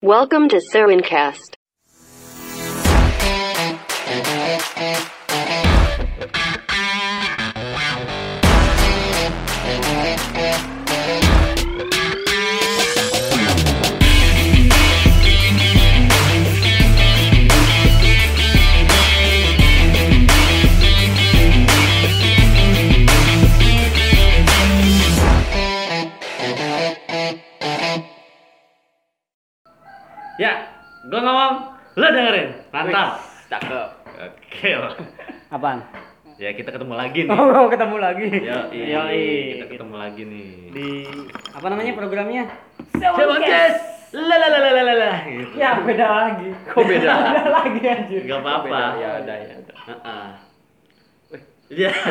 Welcome to Sarincast. Ya, gue ngomong, lo dengerin, mantap. Cakep. Oke lah. Apaan? Ya kita ketemu lagi nih. Oh, ketemu lagi. Yoi, Yoi. iya. kita ketemu lagi nih. Di apa namanya programnya? Sebangkes, la la la la la la la. Gitu. Ya, beda lagi. Kok beda? beda lagi anjir. Gak apa-apa. Ya, ada ya. Ada. Heeh. Iya.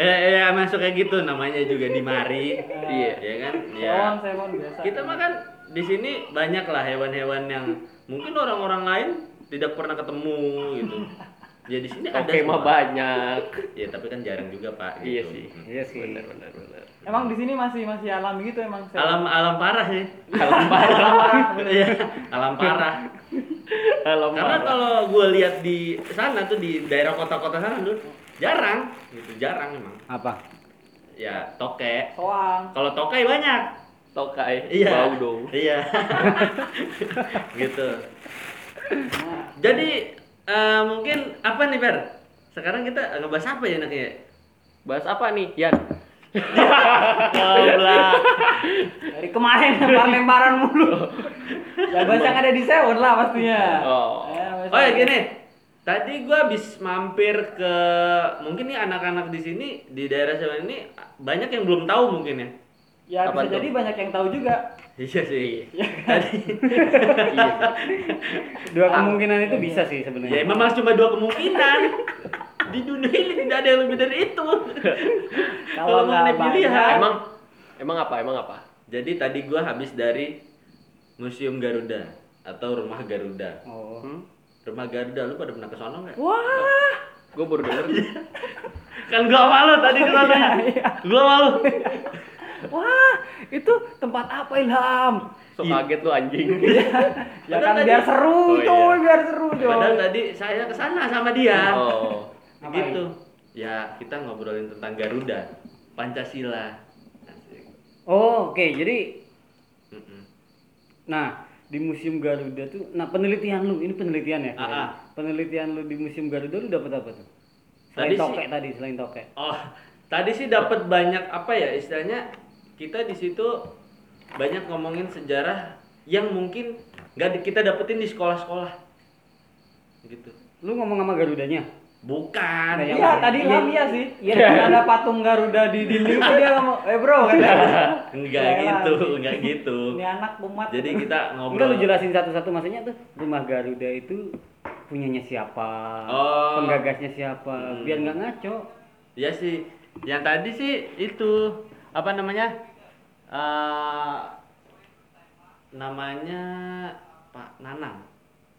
Ya, ya masuk kayak gitu namanya juga di mari. Iya. Ya kan? Ya. Sewon, sewon biasa. Kita mah kan di sini banyak lah hewan-hewan yang mungkin orang-orang lain tidak pernah ketemu gitu. Ya di sini ada Oke mah semua. banyak. Ya tapi kan jarang juga pak. Iya gitu. sih. Mm. Iya sih. Benar benar benar. Emang di sini masih masih alami gitu emang. sewon? Alam alam parah sih. Alam parah. Iya, alam parah. Alam Karena parah. kalau gue lihat di sana tuh di daerah kota-kota sana tuh jarang, gitu jarang emang. Apa? Ya toke. Soang. Kalau toke banyak. Tokai. Iya. Bau dong. Iya. gitu. Jadi eh, mungkin apa nih Per? Sekarang kita ngebahas apa ya enaknya? Bahas apa nih, Yan? Goblok. Dari kemarin lempar-lemparan mulu. ya bahasa yang ada di sewon lah pastinya. Oh. bahasa- Oh ya gini, tadi gue habis mampir ke mungkin nih anak-anak di sini di daerah sana ini banyak yang belum tahu mungkin ya. Ya bisa Apa tuh? jadi banyak yang tahu juga. Iya sih. Tadi Iya. Dua kemungkinan itu bisa sih sebenarnya. ya memang cuma dua kemungkinan. Di dunia ini tidak ada yang lebih dari itu. mengenai Kalau nggak banyak- pilihan. Emang emang apa? Emang apa? Jadi tadi gue habis dari Museum Garuda atau Rumah Garuda. Oh. Hmm? Rumah Garuda lu pada pernah ke sono nggak? Wah. Gue baru denger. Kan gua malu tadi Oh, di sononya. iya, Gua malu. Wah, itu tempat apa Ilham? So Iya. kaget lu anjing. Ya Padahal kan tadi- biar seru, Oh, iya. coy, biar seru, coy. Padahal tadi saya ke sana sama dia. Oh. Ngapain? gitu ya kita ngobrolin tentang Garuda Pancasila Asik. Oh, oke. Jadi, Mm-mm. nah di Museum Garuda tuh, nah penelitian lu, ini penelitian ya? Ah, ah. Penelitian lu di Museum Garuda lu dapat apa tuh? Tadi Selain sih- tokek tadi, selain tokek. oh tadi sih dapat banyak apa ya istilahnya kita di situ banyak ngomongin sejarah yang mungkin nggak di- kita dapetin di sekolah-sekolah gitu Lu ngomong sama Garudanya? bukan Nah, yang- Iya, tadi Ini- Ilham iya sih. Iya, kan ada patung Garuda di dinding tuh dia ngomong, "Eh, Bro." katanya. nggak Iya, gitu Ilham. nggak gitu Ini anak umat. jadi kita Enggak ngobrol lu jelasin satu-satu maksudnya tuh rumah Garuda itu punyanya siapa, Oh. Hmm. penggagasnya siapa, biar nggak ngaco. Iya sih. Yang tadi sih itu apa namanya? Eh namanya Pak Nanang.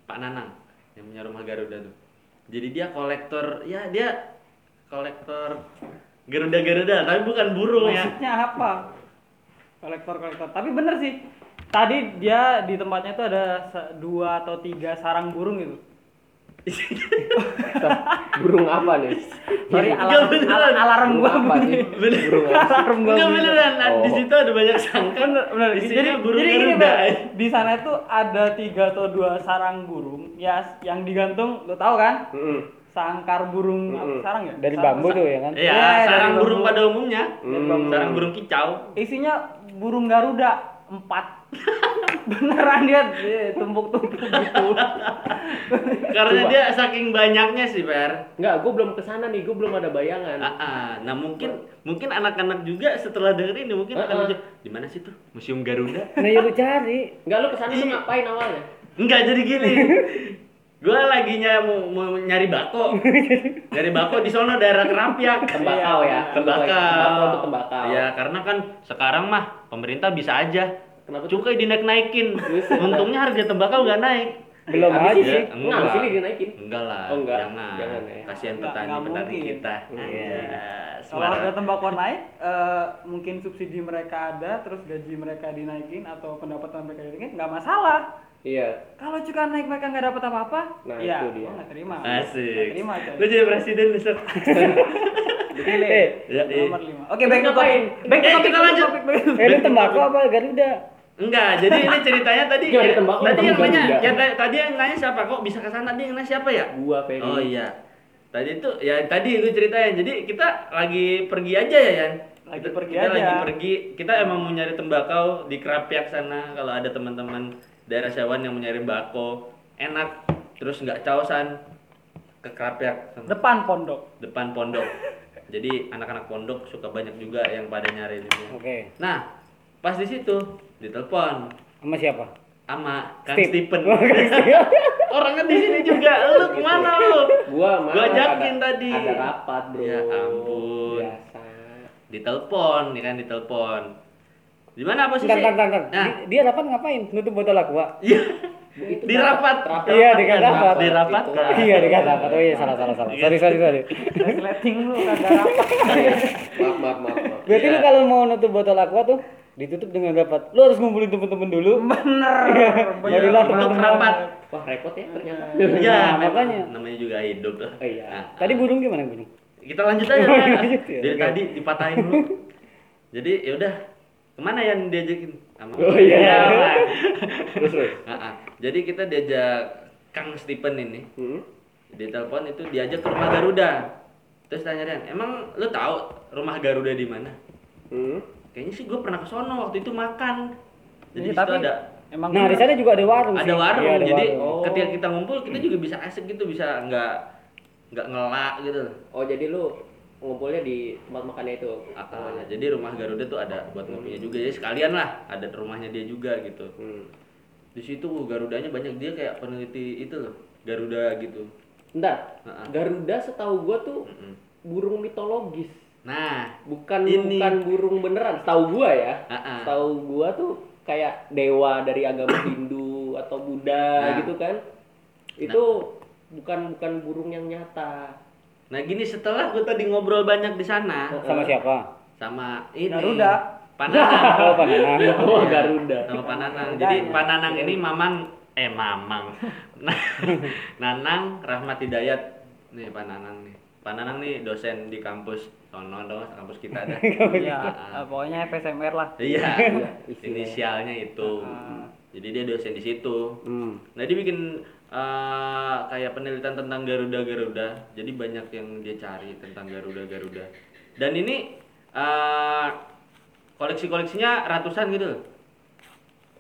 Pak Nanang yang punya rumah Garuda tuh. Jadi dia kolektor, ya dia kolektor Garuda-Garuda, tapi bukan burung ya. Maksudnya apa? Kolektor-kolektor. Tapi bener sih. Tadi dia di tempatnya tuh ada se- dua atau tiga sarang burung gitu. Burung apa nih? Sorry, Iya. Nggak alarm, beneran. al- alarm gua Burung apa bunyi. sih? Bener. Burung apa? Alarm gua Enggak bunyi. beneran, Nah, Oh. di situ ada banyak sangkan. Bener, Kan, bener. Isinya Jadi, burung jadi gini, Garuda. Bang. di sana tuh ada tiga atau dua sarang burung ya yang digantung lo tau kan Mm-mm. sangkar burung apa, Mm-mm. sarang ya Dari Sarang- bambu tuh ya kan? Iya, Iya, dari sarang burung bambu. pada umumnya. Hmm. Sarang burung kicau. isinya burung garuda empat beneran dia dia tumpuk-tumpuk gitu Karena dia saking banyaknya sih, Per. Enggak, gue belum kesana nih. Gue belum ada Ah, bayangan. ah. nah mungkin mungkin anak-anak juga setelah denger ini mungkin Ah, akan ah. aja, di mana sih tuh museum Garuda? Nah ya lu cari. Enggak, lu kesana tuh ngapain awalnya? Enggak jadi gini. gua lagi ny- mau, mau nyari bako. nyari bako di sono daerah Kerampiak. Tembakau Iya, ya, Tembakau. tembakau tuh tembakau. Iya, karena kan sekarang mah pemerintah bisa aja Kenapa tuh? cukai dinaik-naikin. Buset, Untungnya harga tembakau nggak naik. Belum Habis aja. ini, Ya, Nah, habis ini dinaikin. Enggak lah, Oh, enggak. jangan. Jangan ya. Kasihan Enggak, petani enggak petani mungkin. kita. Iya. Kalau harga Semarang. tembakau naik, eh, mungkin subsidi mereka ada, terus gaji mereka dinaikin atau pendapatan mereka dinaikin, nggak masalah. Iya. Kalau cuka naik mereka nggak dapat apa-apa, Nah, ya itu dia. gua nggak terima. Nggak Asik. terima Lu coy. jadi presiden besok. Dipilih. Ya, iya. Nomor lima. Oke, back to ngapain? topik. Back to Eh, topik. kita back to lanjut. topik, back to Eh, lu tembakau apa Garuda? Enggak, jadi ini ceritanya tadi ya, Gimana ditembak? tadi yang Tembak nanya, juga. yang ta- tadi yang nanya siapa kok bisa ke sana tadi yang nanya siapa ya? Gua Ferry. Oh iya. Tadi itu ya tadi gue ceritain. Jadi kita lagi pergi aja ya, Yan. Lagi Kita- pergi kita aja. lagi pergi. Kita emang mau nyari tembakau di Kerapiak sana kalau ada teman-teman daerah Sawan yang mau nyari bako enak terus nggak causan ke Kerapiak topik. Depan pondok. depan pondok. Jadi anak-anak pondok suka banyak juga yang pada nyari itu. Oke. Nah, pas di situ ditelepon Sama siapa? sama Kang Steve. Gitu. Stephen. Oh, Kang Steven. Orangnya di sini juga. Lu kemana lu? Gua mah Gua ajakin ada, tadi. Ada rapat, Bro. Ya ampun. Biasa. Ditelepon, ya kan ditelepon. Di mana posisi? Bentar, bentar, bentar. Nah, Di- Dia rapat ngapain? Nutup botol aqua. iya. Itu Di rapat. rapat. Iya, di kan rapat. Di rapat. Itu. Iya, dia kan rapat. Oh iya, salah, salah, salah. Sorry, sorry, sorry. Resleting lu kagak rapat. Maaf, maaf, maaf. maaf. Berarti Iya. lu kalau mau nutup botol aqua tuh ditutup dengan rapat. Lu harus ngumpulin temen-temen dulu. Bener. Dari Bener. Iya, lah Untuk teman-teman. rapat. Wah, repot ya ternyata. Iya, Nah, memang. makanya. Namanya juga hidup lah. Oh, iya. Nah, Tadi burung gimana burung? kita lanjut aja. Lanjut ya, ya. Dari oke. tadi dipatahin dulu. Jadi ya udah, kemana yang diajakin? Sama. Oh, iya. Pak. Terus, terus. Ah, ah. Jadi kita diajak Kang Stephen ini. Hmm? di telepon itu diajak ke rumah Garuda terus tanya Rian emang lu tahu rumah Garuda di mana Hmm? kayaknya sih gue pernah ke sono waktu itu makan jadi di situ Iya, tapi ada Emang gitu. Nah, di sana juga ada warung. sih. ada warung Iya, ada jadi warung. warung. ketika kita ngumpul kita juga bisa asik gitu bisa nggak nggak ngelak gitu Oh, jadi lu ngumpulnya di tempat makannya itu. Ah, ah, jadi rumah Garuda tuh ada buat ngopinya juga jadi sekalian lah ada rumahnya dia juga gitu Hmm. di situ Garudanya banyak dia kayak peneliti itu loh Garuda gitu Bentar. Ah, ah. Garuda setahu gua tuh Mm-mm. burung mitologis. nah Bukan Ini. bukan burung beneran, setahu gua ya. Ah, ah. Setahu gua tuh kayak dewa dari agama Hindu atau Buddha Nah. gitu kan. Itu bukan bukan burung yang nyata. nah gini setelah gue tadi ngobrol banyak di sana sama siapa? sama ini Garuda. Pananang Iya, Oh, Pananang. Oh, Garuda. sama Pananang jadi Garuda. Pananang ini Mamang eh Mamang Nanang Rahmat Hidayat nih Pananang nih Pananang nih dosen di kampus sono dong kampus kita ada Iya, gitu. eh, pokoknya FSMR lah. iya isinya. inisialnya itu jadi dia dosen di situ Hmm. Nah dia bikin eh, kayak penelitian tentang Garuda Garuda. Jadi banyak yang dia cari tentang Garuda Garuda. Dan ini eh, koleksi-koleksinya ratusan gitu. loh.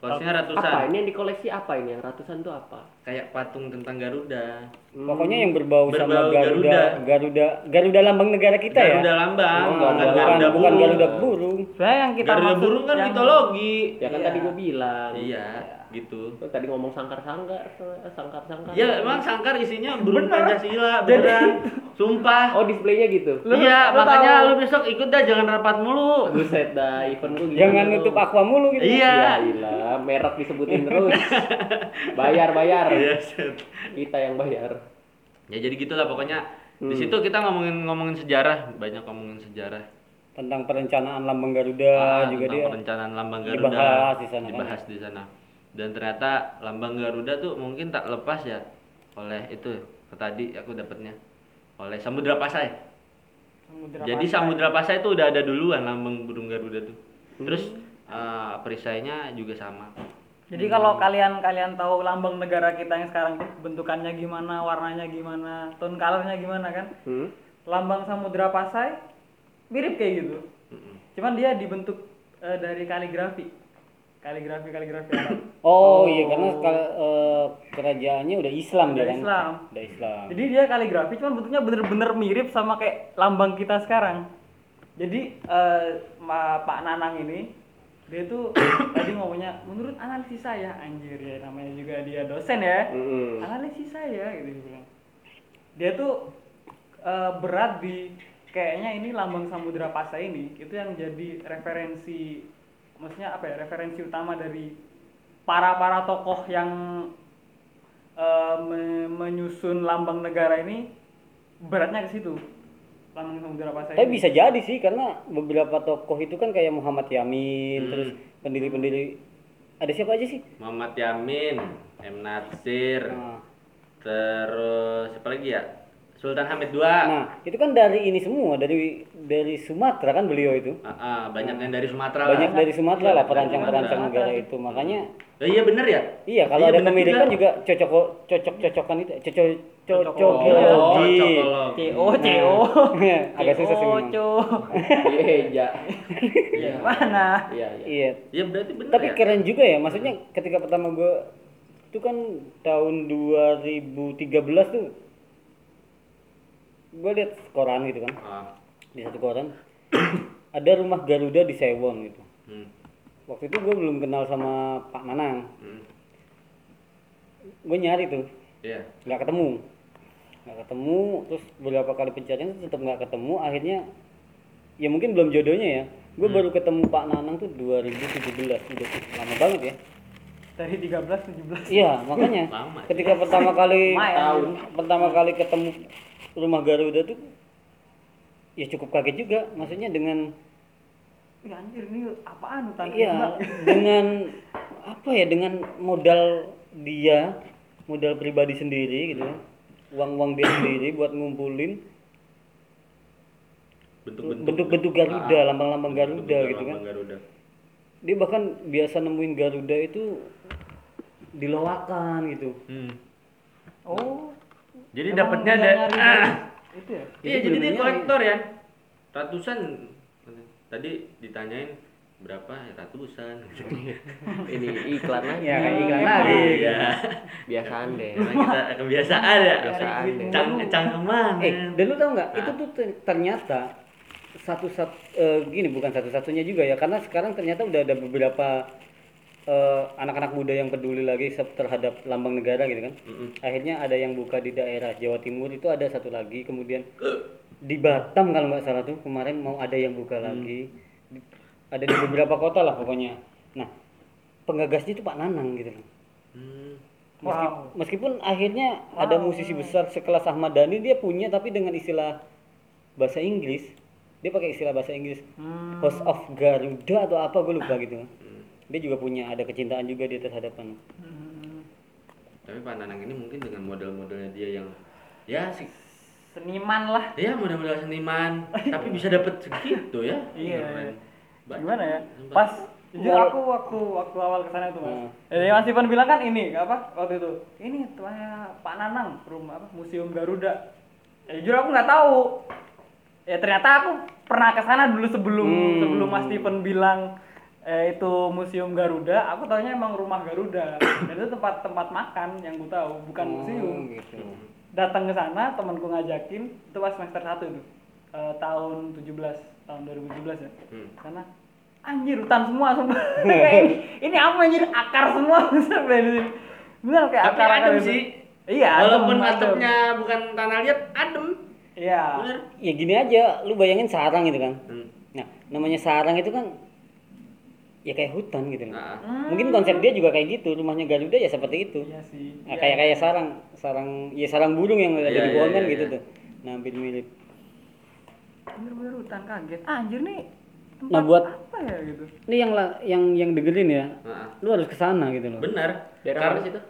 Koleksinya ratusan. Apa ini yang di koleksi apa ini? Yang ratusan tuh apa? Kayak patung tentang Garuda. Pokoknya yang berbau, sama Berbau Garuda, Garuda, Garuda, lambang negara kita Garuda ya. lambang, Oh, bukan bukan, Garuda bukan burung. Garuda burung. Sebenarnya yang kita Garuda maksud burung kan yang- mitologi. Ya kan tadi gua bilang. Iya, gitu. Lu tadi ngomong sangkar-sangkar, sangkar-sangkar. Ya emang sangkar isinya burung Pancasila, Jadi- beneran. Sumpah. Oh, displaynya gitu. Lu- iya, lu makanya tahu. lu besok ikut dah jangan rapat mulu. Buset dah, event gua gitu. gimana Jangan dong? nutup aqua mulu gitu. Iya. Ya ilah, merek disebutin terus. Bayar-bayar. Iya, set. Kita yang bayar. ya jadi gitulah pokoknya di Hmm. situ kita ngomongin ngomongin sejarah banyak ngomongin sejarah Tentang perencanaan lambang Garuda Ah, juga tentang dia. perencanaan lambang Garuda dibahas di sana kan? dibahas di sana dan ternyata lambang Garuda tuh mungkin tak lepas ya oleh itu tadi aku dapatnya oleh Samudra Pasai Samudra jadi Pasai. Samudra Pasai itu udah ada duluan lambang burung Garuda tuh Hmm. terus eh, perisainya juga sama Jadi kalau kalian kalian tahu lambang negara kita yang sekarang tuh bentukannya gimana, warnanya gimana, tone colornya gimana kan? Hmm? Lambang Samudra Pasai mirip kayak gitu. Cuman dia dibentuk eh, dari kaligrafi. Kaligrafi kaligrafi Arab. Oh, iya karena kal- eh, kerajaannya udah Islam Udah dia kan. Islam. Udah Islam. Jadi dia kaligrafi cuman bentuknya bener-bener mirip sama kayak lambang kita sekarang. Jadi eh, Ma- Pak Nanang ini dia tuh tadi ngomongnya menurut analisis saya anjir ya namanya juga dia dosen ya. Mm-mm. analisis saya gitu dia bilang. Dia tuh eh, berat di kayaknya ini lambang samudra pasai ini itu yang jadi referensi maksudnya apa ya referensi utama dari para para tokoh yang eh, eh, me- menyusun lambang negara ini beratnya ke situ. Lambang Samudra Pasai. Tapi ini. bisa jadi sih karena beberapa tokoh itu kan kayak Muhammad Yamin, Hmm. terus pendiri-pendiri ada siapa aja sih? Muhammad Yamin, M Natsir, Nah, terus siapa lagi ya? Sultan Hamid II. nah, itu kan dari ini semua dari dari Sumatera kan beliau itu. Ah, ah, banyak yang dari Sumatera lah. Hmm. Banyak dari Sumatera Iya, lah dari perancang-perancang Sumatera. negara itu. Makanya Oh, iya bener ya? iya kalau ada bener pemilikan juga cocok cocok-cocokan itu cocok Oh, cocok Iya. Cocokologi. Cocokologi. CO CO. Nah, Agak susah sih CO, memang. CO. Iya, iya. Iya. Mana? Iya, iya. Iya, Iya berarti bener Tapi ya? keren juga ya, maksudnya ketika pertama gue itu kan tahun 2013 tuh gue lihat koran gitu kan Ah, di satu koran ada rumah Garuda di Sewon gitu. hmm, Waktu itu gue belum kenal sama Pak Nanang, hmm, gue nyari tuh Iya. nggak ketemu, nggak ketemu terus beberapa kali pencarian tuh tetap nggak ketemu. Akhirnya ya mungkin belum jodohnya ya. Gue baru ketemu Pak Nanang tuh 2017, udah lama banget ya. Dari 13 17. Iya, makanya Lama. ketika pertama kali Lumayan. tahun pertama kali ketemu rumah Garuda tuh ya cukup kaget juga, maksudnya dengan Ih, anjir ini apaan hutan iya dengan apa ya dengan modal dia, modal pribadi sendiri gitu. Uang-uang dia sendiri buat ngumpulin Bentuk-bentuk. Ah, bentuk-bentuk Garuda, lambang-lambang Garuda Bentuk-bentuk gitu kan. lambang Garuda. Dia bahkan biasa nemuin Garuda itu diloakan gitu. Hmm. Oh, Jadi Emang dapatnya yang ada nyari-nyari. Ah. itu ya. Iya, jadi dia kolektor ya. Ratusan tadi ditanyain berapa ya ratusan Ini iklan aja. Ya, kan iklan lagi. iya Biasaan deh. Emang kita kebiasaan ya Kebiasaan deh. cang cang kemana iya. Eh, dan lu tau nggak? Itu tuh ter- ternyata satu satu gini bukan satu-satunya juga ya, karena sekarang ternyata udah ada beberapa eh, anak-anak muda yang peduli lagi se- terhadap lambang negara gitu kan. Mm-mm. Akhirnya ada yang buka di daerah Jawa Timur itu ada satu lagi, kemudian di Batam kalau nggak salah tuh kemarin mau ada yang buka lagi. Di- Ada di beberapa kota lah pokoknya. Nah, penggagasnya itu Pak Nanang gitu loh. Hmm. Meskip- Wow. Meskipun akhirnya ada musisi besar sekelas Ahmad Dhani dia punya tapi dengan istilah bahasa Inggris. Dia pakai istilah bahasa Inggris. Hmm. House of Garuda atau apa gue lupa gitu. Dia juga punya ada kecintaan juga dia terhadap kan. Hmm, tapi Pak Nanang ini mungkin dengan model-modelnya dia yang ya sih Seniman lah. ya model-model seniman tapi bisa dapat segitu ya Iya, Keren. iya. Banyak. gimana ya Tempat. pas jujur Wal- aku waktu waktu awal kesana tuh mas Hmm. jadi mas Ivan bilang kan ini apa waktu itu ini tuh Pak Nanang rumah apa museum Garuda ya, jujur aku nggak tahu ya ternyata aku pernah kesana dulu sebelum Hmm. sebelum mas Ivan bilang eh, itu museum Garuda aku taunya emang rumah Garuda dan itu tempat tempat makan yang ku tahu bukan museum Oh, gitu. datang ke sana temanku ngajakin itu pas semester 1 itu Eh, tahun 17 tahun 2017 ya Hmm. karena anjir hutan semua semua Kayak ini, ini apa anjir akar semua sampai di sini benar kayak tapi akar adem gitu. sih iya adem, walaupun adem. atapnya bukan tanah liat adem iya bener Ya gini aja, lu bayangin sarang gitu kan. Hmm. Nah, namanya sarang itu kan ya kayak hutan gitu loh. Nah, Mungkin konsep dia juga kayak gitu, rumahnya Garuda ya seperti itu. iya sih Nah, kayak kayak sarang, sarang ya sarang burung yang ada Iya, di pohon iya, kan iya, gitu iya. tuh. Nah, hampir mirip. bener-bener hutan kaget "Ah, anjir nih tempat Nah, buat- apa ya gitu Ini yang la- yang yang dengerin ya, nah, lu harus kesana gitu loh. bener Daerah Kar- mana sih itu?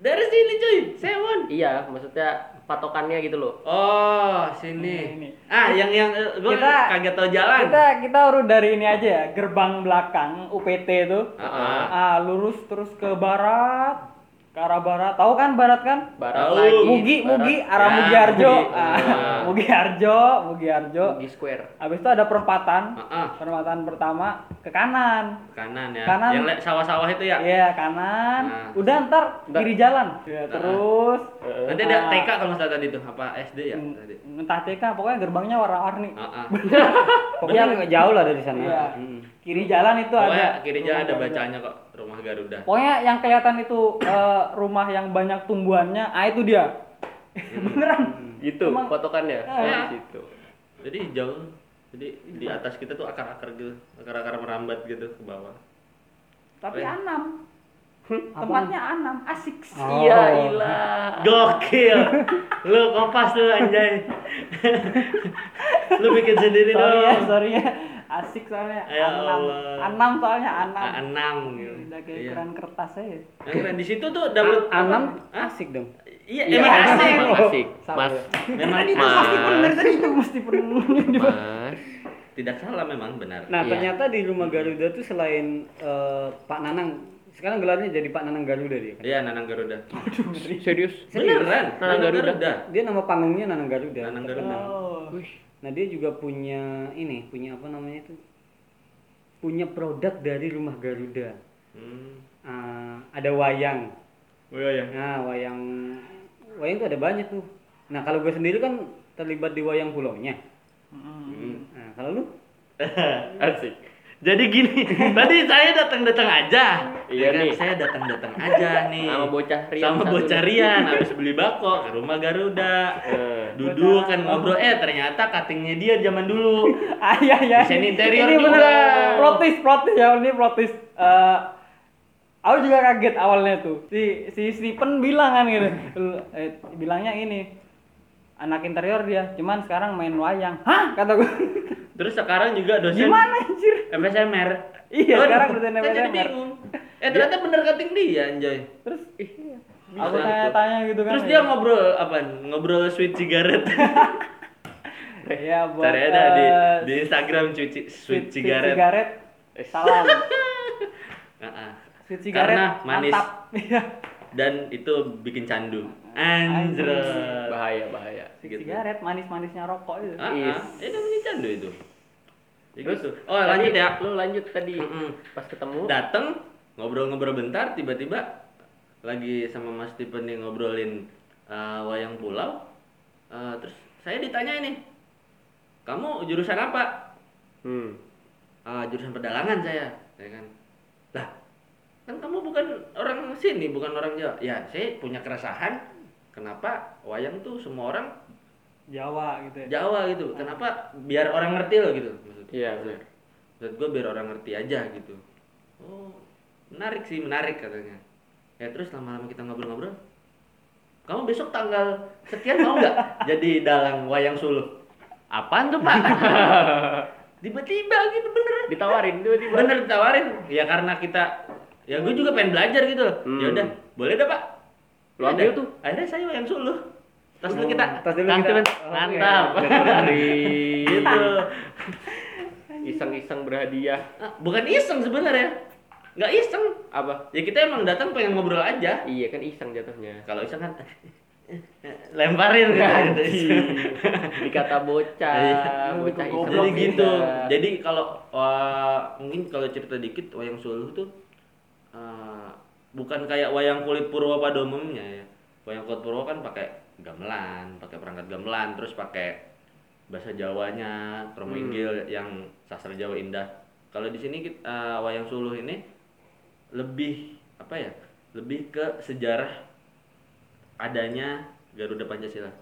dari sini cuy Sewon Iya, maksudnya patokannya gitu loh. oh Nah, Ini. sini ah yang yang gue Kita- kagak tahu jalan kita kita urut dari ini aja ya gerbang belakang UPT itu Ah, ah lurus terus ke barat ke arah barat tahu kan barat kan Barat Tahu. lagi. Mugi barat. Mugi arah Ya, Mugi Arjo Mugi. Nah. Ah, Mugi Arjo Mugi Arjo Mugi Square. Habis itu ada perempatan. Ah, ah. Perempatan pertama ke kanan. ke kanan ya Kanan. yang le- sawah-sawah itu ya Iya, kanan. Nah. Udah ntar kiri jalan. Ya, terus nanti ada Ah. TK kalau nggak salah tadi tuh apa SD ya Mm, tadi entah TK pokoknya gerbangnya warna-warni. Ah, ah. Pokoknya nggak jauh lah dari sana. Iya. Mm. Kiri jalan itu Pokoknya ada. kiri jalan ada rumah Garuda. bacanya kok rumah Garuda Pokoknya yang kelihatan itu eh, rumah yang banyak tumbuhannya, ah itu dia. Beneran. Hmm. Gitu, Emang- patokannya. Iya. Ah. Di situ. jadi jauh jadi di atas kita tuh akar-akar gitu akar-akar merambat gitu ke bawah Tapi Keren. anam. Tempatnya Anam, asik. Oh. Iya, Ah. ilah. Gokil. lu kompas lu anjay. lu bikin sendiri Sorry ya, dong. sorry ya. Asik soalnya Ya Anam. Allah. Anam soalnya Anam. Ah, enam gitu. Udah kayak Ah, Iya. keran kertas aja. Yang keren di situ tuh dapat Anam asik dong. Iya, Iya, emang Iya. asik. emang asik. Salah Mas, ya. Memang Tadi itu mas. pasti benar tadi itu mesti benar. mas. Tidak salah memang benar. Nah, Iya. ternyata di rumah Garuda tuh selain eh, Pak Nanang, sekarang gelarnya jadi Pak Nanang Garuda dia. kan? Iya, Nanang Garuda. Serius? Beneran? Nanang Garuda. Dia nama panggungnya Nanang Garuda. Nanang Garuda. terkenal. Oh. Nah, dia juga punya ini, punya apa namanya itu? Punya produk dari rumah Garuda. Hmm. Ah, ada wayang. Oh iya, iya. Nah, wayang wayang tuh ada banyak tuh. Nah, kalau gue sendiri kan terlibat di wayang pulaunya. Mm-hmm. Nah, kalau lu Asik. Jadi gini, tadi saya datang-datang aja. Ya Iya kan? nih. Saya datang-datang aja nih. Sama bocah Rian Sama satu bocah nih. Rian habis beli bako ke rumah Garuda. Eh. Duduk kan ngobrol eh ternyata cuttingnya dia zaman dulu. Ah iya iya. Desain interior ini juga. bener protes protes ya ini protes. Eh, aku juga kaget awalnya tuh. Si si Stephen bilang kan gitu. Lu- eh, bilangnya ini anak interior dia, cuman sekarang main wayang. Hah? Kata gue. Terus sekarang juga dosen Gimana anjir? MSMR. Iya, Aduh, sekarang dosen saya kan jadi MSMR. bingung. Eh ternyata bener cutting dia anjay. Terus Bisa aku tuh. tanya-tanya gitu kan. Terus dia ngobrol apa? Ngobrol sweet cigarette. ya buat Cari ada di eh, di Instagram sweet, ci- sweet cigarette. Eh. cigaret. Salam. Heeh. Sweet cigaret. Karena manis. Mantap. Iya. Dan itu bikin candu. Anjir. Bahaya, bahaya. Gitu. Sweet cigaret manis-manisnya rokok itu. Ah, Is. ah. itu bikin candu itu. Ya gitu. Oh, lanjut Tadi, ya. Lu lanjut tadi Mm-mm. pas ketemu. Dateng ngobrol-ngobrol bentar tiba-tiba lagi sama Mas Stephen nih ngobrolin eh, wayang pulau. Eh, terus saya ditanya ini. Kamu jurusan apa? Hmm. Ah, jurusan pedalangan saya, ya kan. Lah, kan kamu bukan orang sini, bukan orang Jawa. Ya, saya punya keresahan kenapa wayang tuh semua orang Jawa gitu ya. Jawa gitu. Kenapa biar orang ngerti loh gitu maksudnya. Iya, benar. Maksud gue biar orang ngerti aja gitu. Oh, menarik sih, menarik katanya. Ya terus lama-lama kita ngobrol-ngobrol. Kamu besok tanggal sekian mau nggak jadi dalang wayang suluh? Apaan tuh pak? Tiba-tiba gitu beneran Ditawarin tiba-tiba. bener ditawarin ya karena kita ya gue juga pengen belajar gitu loh Hmm. ya udah boleh dah pak Lu Ya ambil udah. tuh. Oh. akhirnya saya yang suluh tas dulu kita tas dulu Kang kita. Steven. Oh, mantap gitu Iseng-iseng berhadiah. Ah, bukan iseng sebenarnya nggak iseng Apa? ya kita emang datang pengen ngobrol aja Iya kan iseng jatuhnya. kalau iseng kan lemparin kan gitu. Iya. Dikata bocah, Lu bocah jadi iseng. beda. Iya, gitu jadi kalau wah, mungkin kalau cerita dikit wayang suluh tuh eh, bukan kayak wayang kulit purwa pada umumnya ya wayang kulit purwa kan pakai gamelan pakai perangkat gamelan terus pakai bahasa Jawanya Hmm. krominggil yang sastra Jawa indah kalau di sini kit- eh, wayang suluh ini lebih apa ya lebih ke sejarah adanya Garuda Pancasila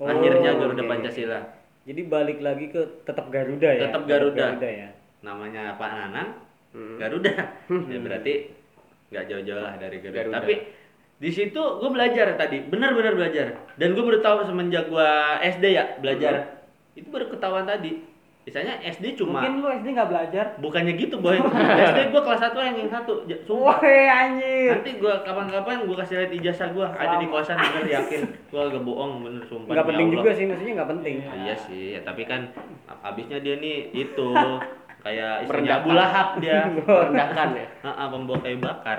Oh, akhirnya Garuda oke. Pancasila jadi balik lagi ke tetap Garuda ya. Tetap Garuda. ya. namanya Pak Nanang Hmm. Garuda ya berarti nggak jauh-jauh lah dari Garuda, Garuda. tapi di situ gue belajar tadi benar-benar belajar dan gue baru tahu semenjak gue SD ya belajar itu baru ketahuan tadi misalnya SD cuma Mungkin lu SD nggak belajar. bukannya gitu boy SD gue kelas 1 yang satu Ja- sumpah Woi anjir. nanti gue kapan-kapan gue kasih lihat ijazah gue ada di kosan bener yakin gue agak bohong bener sumpah Enggak demi penting Allah. juga sih, maksudnya enggak penting. Ah, Iya sih, ya, tapi kan habisnya dia nih itu kayak istrinya Merendahkan. Abu Lahab dia. Merendahkan ya. Heeh, pembawa kayu bakar.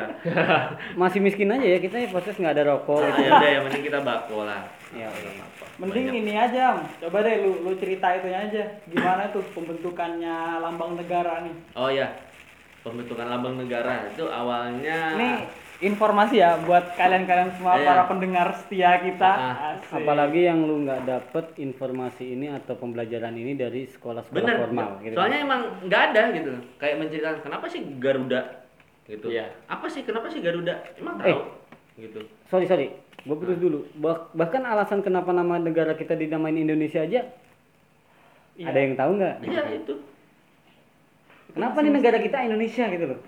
Masih miskin aja ya kita ya proses nggak ada rokok. Ah, ya udah yang penting kita bako lah. Ya, oke. Nggak apa-apa. Mending Banyak. ini aja, Am. coba deh lu lu cerita itunya aja. Gimana tuh pembentukannya lambang negara nih? Oh ya. Pembentukan lambang negara itu Nah. awalnya Ini informasi ya buat kalian-kalian semua Iya. para pendengar setia kita. Nah. Ah, Asik. Apalagi yang lu nggak dapet informasi ini atau pembelajaran ini dari sekolah-sekolah bener formal. gitu. soalnya emang nggak ada gitu loh. kayak menceritakan kenapa sih Garuda gitu Iya. apa sih kenapa sih Garuda emang Eh. tahu gitu sorry sorry, gue putus dulu. Bah- bahkan alasan kenapa nama negara kita dinamain Indonesia aja, Iya. ada yang tahu nggak? iya itu Iya, Kenapa nih negara kita Indonesia gitu loh?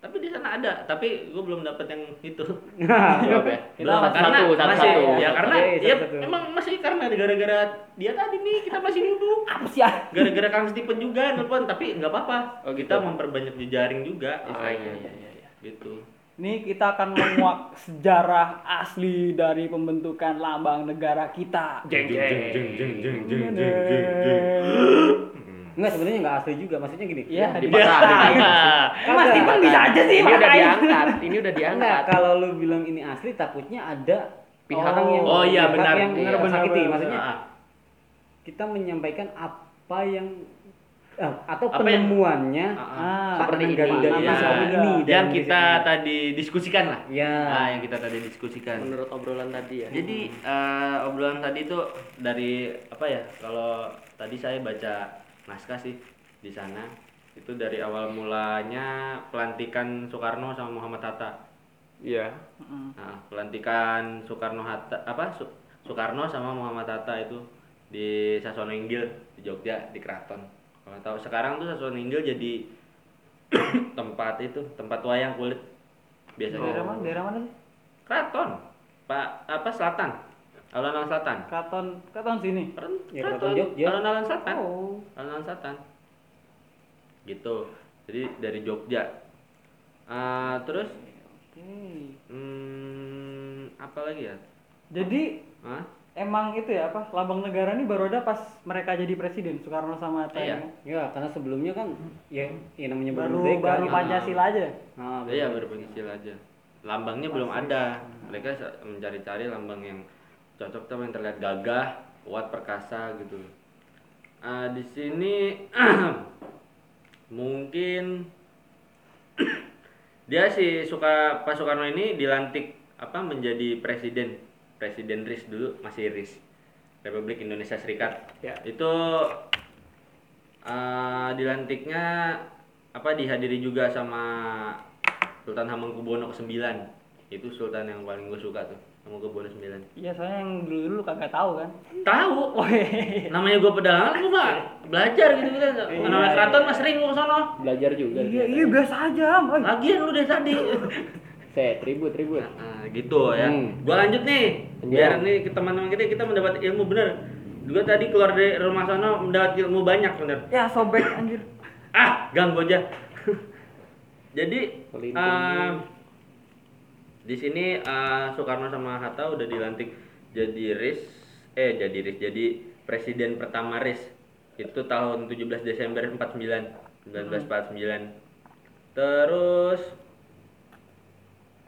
tapi di sana ada tapi gue belum dapet yang itu Jawab ya. Itu Iya, Belum, Iya. karena satu, satu, masih satu. ya karena Oke, ya satu-satu. emang masih karena gara-gara dia tadi nih kita masih duduk apa sih ah? gara-gara kang Stephen juga nelfon tapi nggak apa-apa Oh, gitu. kita memperbanyak jejaring juga Ah, istilahnya. iya, iya, iya, iya. gitu Ini kita akan menguak sejarah asli dari pembentukan lambang negara kita. Jeng jeng jeng jeng jeng jeng. Hmm. Enggak sebenarnya enggak asli juga, maksudnya gini. Iya, Dipatahin. Mas Stephen bisa aja sih Ini udah pakai. diangkat, ini udah Kan diangkat. Enggak, kalau lu bilang ini asli takutnya ada Pihak. orang yang Oh, iya, pihak benar. yang Iya, menyakiti. benar. Maksudnya Ah, kita menyampaikan apa yang eh, atau Apa yang- penemuannya ah, ah. Ah, Seperti ini. Garuda Iya. Mas Garuda ini dan yang di kita sini. tadi diskusikan lah ya nah yang kita tadi diskusikan Menurut obrolan tadi ya. jadi eh, obrolan tadi itu dari apa ya kalau tadi saya baca naskah sih di sana itu dari awal mulanya pelantikan Soekarno sama Muhammad Hatta Iya. Mm. Nah, pelantikan Soekarno Hatta apa Su- Soekarno sama Muhammad Hatta itu di Sasono Inggil di Jogja di Keraton. Kalau tahu sekarang tuh Sasono Inggil jadi tempat itu tempat wayang kulit Daerah biasanya. mana? Daerah mana sih? Keraton. Pak apa selatan? Alun-alun selatan. Keraton, keraton sini. Keren- Ya, Keraton Jogja. Alun-alun selatan. Oh. Alun-alun selatan. Gitu. Jadi dari Jogja. Ah, terus Oke. hmm, apa lagi ya? Jadi Hah? emang itu ya apa? Lambang negara ini baru ada pas mereka jadi presiden Soekarno sama Hatta. Iya. ya. ya karena sebelumnya kan ya yang namanya Baru baru bermerdeka kan. gitu. Pancasila aja. Ah, Iya baru pensil aja. Lambangnya belum ada. Mereka sa- mencari-cari lambang yang cocok sama yang terlihat gagah, kuat, perkasa gitu. Ah, di sini mungkin dia si suka Pak Soekarno ini dilantik apa menjadi presiden presiden RIS dulu masih RIS Republik Indonesia Serikat Ya. itu eh, dilantiknya apa dihadiri juga sama Sultan Hamengkubuwono ke-9 itu Sultan yang paling gue suka tuh Hamengkubuwono 9 Iya, soalnya yang dulu-dulu kagak tahu kan. tahu Oh, hehehe. namanya gue pedagang gue mah belajar gitu gitu anak keraton mah sering gue sono Belajar juga. iya, ternyata. iya biasa aja. Am. Oi. lagian lu dari tadi Set, ribut, ribut. Nah, gitu ya. Hmm. Gua lanjut nih. Biar nih ke teman-teman kita kita mendapat ilmu bener. Gua tadi keluar dari rumah sana mendapat ilmu banyak bener. Ya sobek anjir. Ah, ganggu aja. Jadi Pelindung. eh, di sini eh, Soekarno sama Hatta udah dilantik jadi RIS eh jadi RIS jadi presiden pertama RIS itu tahun 17 Desember 49 1949 terus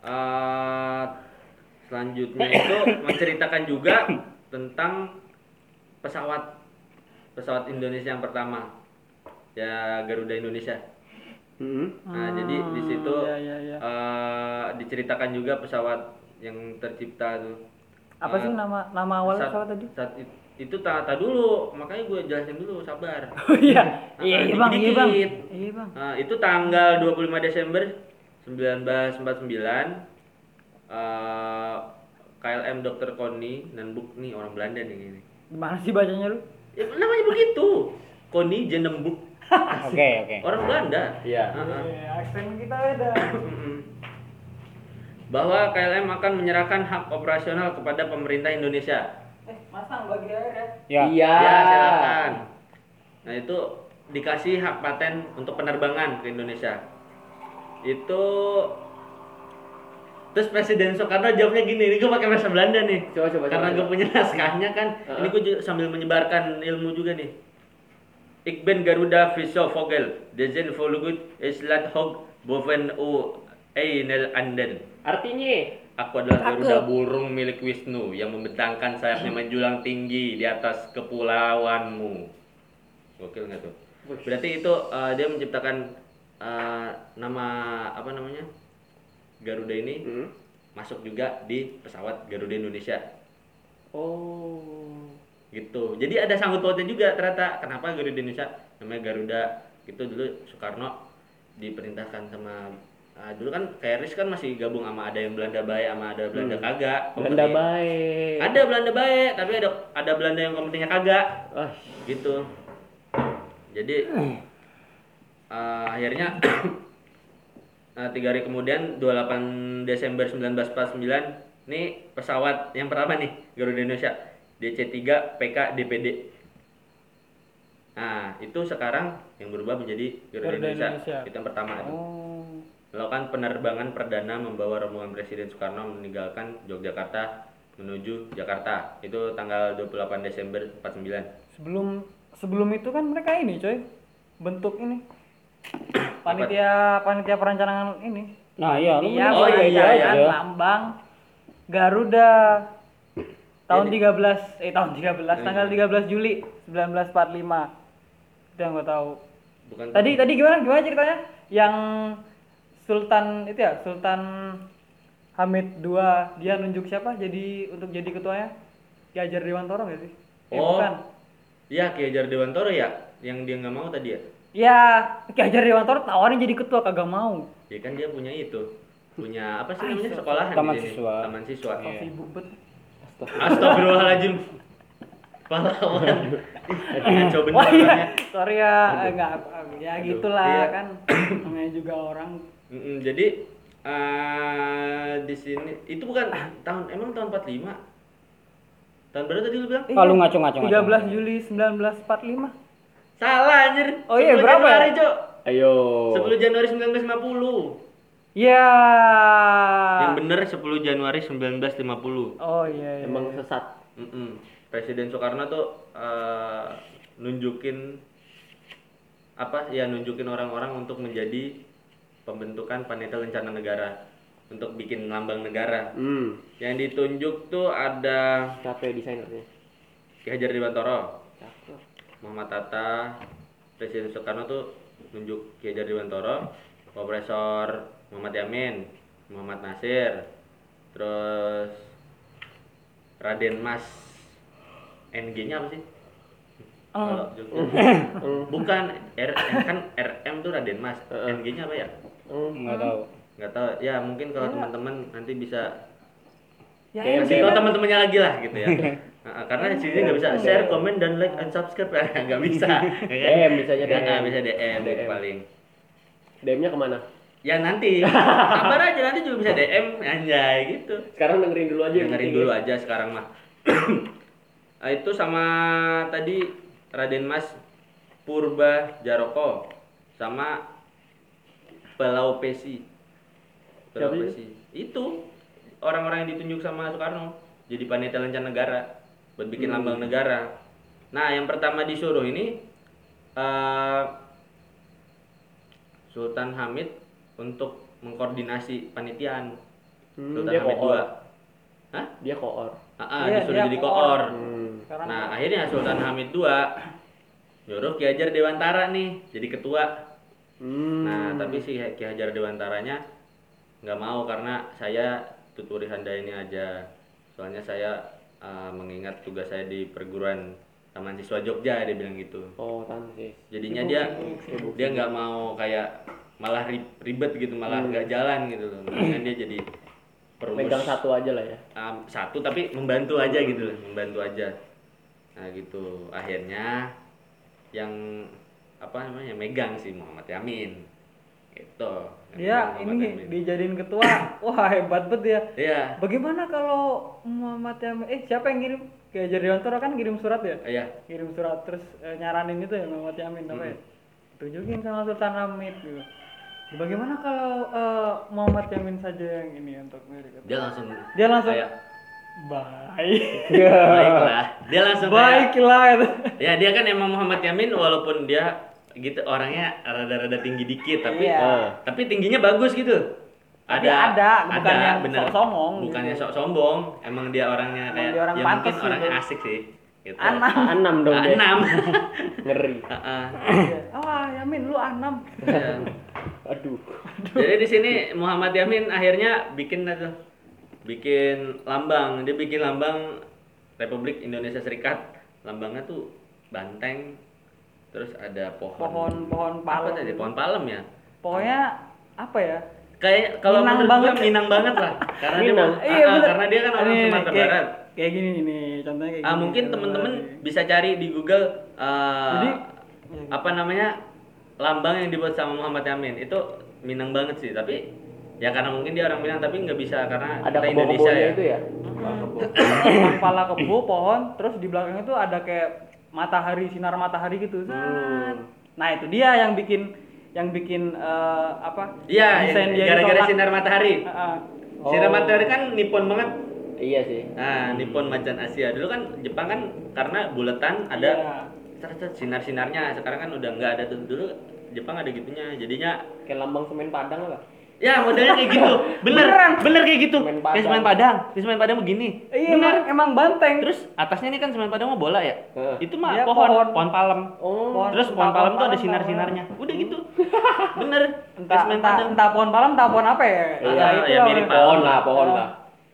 eh, selanjutnya itu menceritakan juga tentang pesawat pesawat Indonesia yang pertama ya Garuda Indonesia Hmm. Nah, jadi di situ Iya, iya, iya. eh, diceritakan juga pesawat yang tercipta tuh. Apa eh, sih nama nama awal Saat- pesawat tadi? saat it- itu tata dulu, makanya gue jelasin dulu, sabar. Oh iya. Nah, Iya, iya, Bang, iya, Bang. dikit. Iya, Bang. Nah, itu tanggal 25 Desember 1949 eh, KLM Dr. Koni dan Buk nih orang Belanda nih ini. Gimana sih bacanya lu? Ya, namanya begitu. Koni Jenembuk, oke oke orang Belanda. Ah, Iya. Heeh. Iya, aksen kita beda. bahwa KLM akan menyerahkan hak operasional kepada pemerintah Indonesia. eh, masang bagi air ya. ya Iya. Ya, silakan. Nah, itu dikasih hak paten untuk penerbangan ke Indonesia. Itu Terus Presiden Soekarno jawabnya gini, ini gue pakai bahasa Belanda nih. Coba, coba, Karena coba, gue coba. punya naskahnya kan, Heeh. ini gue ju- sambil menyebarkan ilmu juga nih. Ik ben Garuda Viso Vogel, Dezen Volgut, Islat Hog, Boven U, Einel Anden. Artinya, Aku adalah Garuda burung milik Wisnu yang membentangkan sayapnya Hmm. menjulang tinggi di atas kepulauanmu. Gokil nggak tuh? Berarti itu uh, dia menciptakan uh, nama apa namanya Garuda ini Hmm. masuk juga di pesawat Garuda Indonesia oh, gitu. Jadi ada sangkut pautnya juga ternyata kenapa Garuda Indonesia namanya Garuda itu dulu Soekarno diperintahkan sama uh, dulu kan Keris kan masih gabung sama ada yang Belanda baik sama ada Belanda kagak. Hmm. Belanda Kompetisi- baik. ada Belanda baik tapi ada ada Belanda yang kompetinya kagak Ah, gitu jadi eh, akhirnya eh, tiga hari kemudian 28 Desember 1949 ini pesawat yang pertama nih Garuda Indonesia DC3 PK DPD nah itu sekarang yang berubah menjadi Garuda, Garuda Indonesia. Indonesia. itu yang pertama itu Oh. melakukan kan penerbangan perdana membawa rombongan Presiden Soekarno meninggalkan Yogyakarta menuju Jakarta itu tanggal 28 Desember 49 Sebelum sebelum itu kan mereka ini, coy. Bentuk ini. Panitia panitia perencanaan ini. Nah, iya. lu Iya, bener. Oh, iya, iya, perencanaan iya. lambang Garuda tahun 13 eh tahun 13 tanggal 13 Juli 1945. Itu yang gue tahu. bukan Tadi tadi gimana gimana ceritanya? Yang Sultan itu ya, Sultan Hamid II dia nunjuk siapa jadi untuk jadi ketuanya? Ki Hajar Dewantoro nggak sih? Eh, Oh. bukan. ya Ki Hajar Dewantoro ya yang dia nggak mau tadi ya Ya, Ki Hajar Dewantoro tawarin jadi ketua kagak mau. ya kan dia punya itu punya apa sih namanya sekolahan Taman di sini? siswa. taman siswa Sibuk banget. astagfirullahaladzim pahlawan Ih, coba bener Wah orangnya. iya, sorry ya, eh, nggak ya Aduh, gitulah iya. kan namanya juga orang. Mm-mm, jadi eh di sini itu bukan tahun emang tahun 45 tahun berapa tadi lu bilang Iya, Kalau ngaco-ngaco. 13 Juli 1945. salah anjir Oh iya, 10 berapa ya? Januari, Cok. Ayo. 10 Januari 1950 Ya. yang bener 10 Januari 1950 Oh iya. iya. Emang sesat. Mm-mm. Presiden Soekarno tuh eh, nunjukin apa ya nunjukin orang-orang untuk menjadi pembentukan panitia lencana negara untuk bikin lambang negara. Hmm. Yang ditunjuk tuh ada Capek desainernya. Ki Hajar Dewantoro, Cakep. Muhammad Tata, Presiden Soekarno tuh nunjuk Ki Hajar Dewantoro, Profesor Muhammad Yamin, Muhammad Nasir, terus Raden Mas NG-nya apa sih? Kalau Jogja. Bukan R kan RM tuh Raden Mas. NG-nya apa ya? Hmm. Enggak tahu. Nggak tahu. Ya mungkin kalau teman-teman nanti bisa Ya, Kayak kasih tahu teman-temannya lagi lah gitu ya. Nah, karena di sini nggak bisa share, comment, dan like, and subscribe ya nggak bisa. DM, bisanya Nggak, nggak DM. bisa DM, gitu DM. paling. DM-nya kemana? Ya nanti, sabar aja nanti juga bisa DM, anjay gitu. Sekarang dengerin dulu aja. yang dengerin penting. dulu aja sekarang mah Nah, itu sama tadi Raden Mas Purba Jaroko sama Pelau Pesi Pelau Siapa Pesi itu orang-orang yang ditunjuk sama Soekarno jadi panitia lencana negara buat bikin Hmm. lambang negara nah yang pertama disuruh ini eh, Sultan Hamid untuk mengkoordinasi panitiaan Hmm, Sultan dia Hamid koor. II Hah? Dia koor. Ah, ah, Iya, disuruh dia jadi koor. koor. Hmm. Sekarang Nah, akhirnya Sultan Hamid II nyuruh Ki Hajar Dewantara nih jadi ketua. Hmm. Nah, tapi si Ki Hajar Dewantaranya nggak mau karena saya tuturi handa ini aja. Soalnya saya eh, mengingat tugas saya di perguruan Taman Siswa Jogja dia bilang gitu. Oh, tansis. Jadinya dia dia nggak mau kayak malah ri- ribet gitu, malah nggak jalan gitu loh. Makanya dia jadi perumus Hmm. Megang satu aja lah ya. um, satu tapi membantu aja gitu loh, membantu aja nah gitu akhirnya yang apa namanya yang megang sih Muhammad Yamin gitu Yang dia megang Muhammad Iya, ini Yamin. dijadiin ketua. Wah, hebat banget dia. iya Bagaimana kalau Muhammad Yamin eh siapa yang ngirim? Ki Hajar Dewantoro kan kirim surat ya? iya Kirim surat terus eh, nyaranin itu ya Muhammad Yamin apa ya? Tunjukin sama Sultan Hamid gitu. Bagaimana kalau eh, Muhammad Yamin saja yang ini untuk menjadi ketua? dia langsung Dia langsung kayak baik. Iya. baiklah dia langsung kayak- Baiklah. ya dia kan emang Muhammad Yamin walaupun dia gitu orangnya rada-rada tinggi dikit tapi Iya. Ah. tapi tingginya bagus gitu Tapi ada, bukan yang bener. sok songong bukannya gitu. sok sombong emang dia orangnya Emang kayak dia orang ya pantes mungkin orangnya gitu. asik sih gitu. Anak. Anam dong Ah, dia. enam Ngeri. Heeh. Iya. Wah, Yamin lu anam. Iya. Aduh. jadi di sini Muhammad Yamin akhirnya bikin itu bikin lambang dia bikin lambang Republik Indonesia Serikat lambangnya tuh banteng terus ada pohon Pohon-pohon apa palem. tadi pohon palem ya Pokoknya apa ya? kayak kalau menurut Minang gue banget. Iya, minang banget lah karena Minang. dia ah, ah, karena dia kan orang Ini, ini, Sumatera kayak- Barat Kayak gini nih, contohnya kayak Ah, gini. mungkin Contoh lagi. temen-temen bisa cari di Google eh, Iya, Jadi, apa namanya lambang yang dibuat sama Muhammad Yamin itu Minang banget sih tapi ya karena mungkin dia orang Minang tapi nggak bisa karena Ada kita Indonesia kebo-kebonya ya. itu ya? kepala kebo pohon terus di belakangnya tuh ada kayak matahari sinar matahari gitu Zat. Hmm. nah itu dia yang bikin yang bikin eh, apa Iya, desain yang- dia gara-gara ditolak. sinar matahari. Heeh. Sinar matahari kan Nippon banget. Iya sih. Nah, Nippon macan Asia. Dulu kan Jepang kan karena buletan ada Iya. cercet sinar-sinarnya. Sekarang kan udah nggak ada tuh. Dulu Jepang ada gitunya. Jadinya Kayak lambang semen Padang apa? ya modelnya kayak gitu. Bener, bener kayak gitu. Semen Kayak Padang. semen Padang. Kayak semen Padang begini. iya emang, emang banteng Terus atasnya ini kan semen Padang mau bola ya? Heeh. Itu mah Iya, pohon, pohon. Oh. pohon, palem. Pohon- Terus entah pohon palem tuh ada palem, sinar-sinarnya. Udah gitu. Bener. palem. entah, Kayak semen entah, Padang. entah pohon palem entah pohon apa ya Iya, itu ya lah. mirip Pohon lah, pohon lah.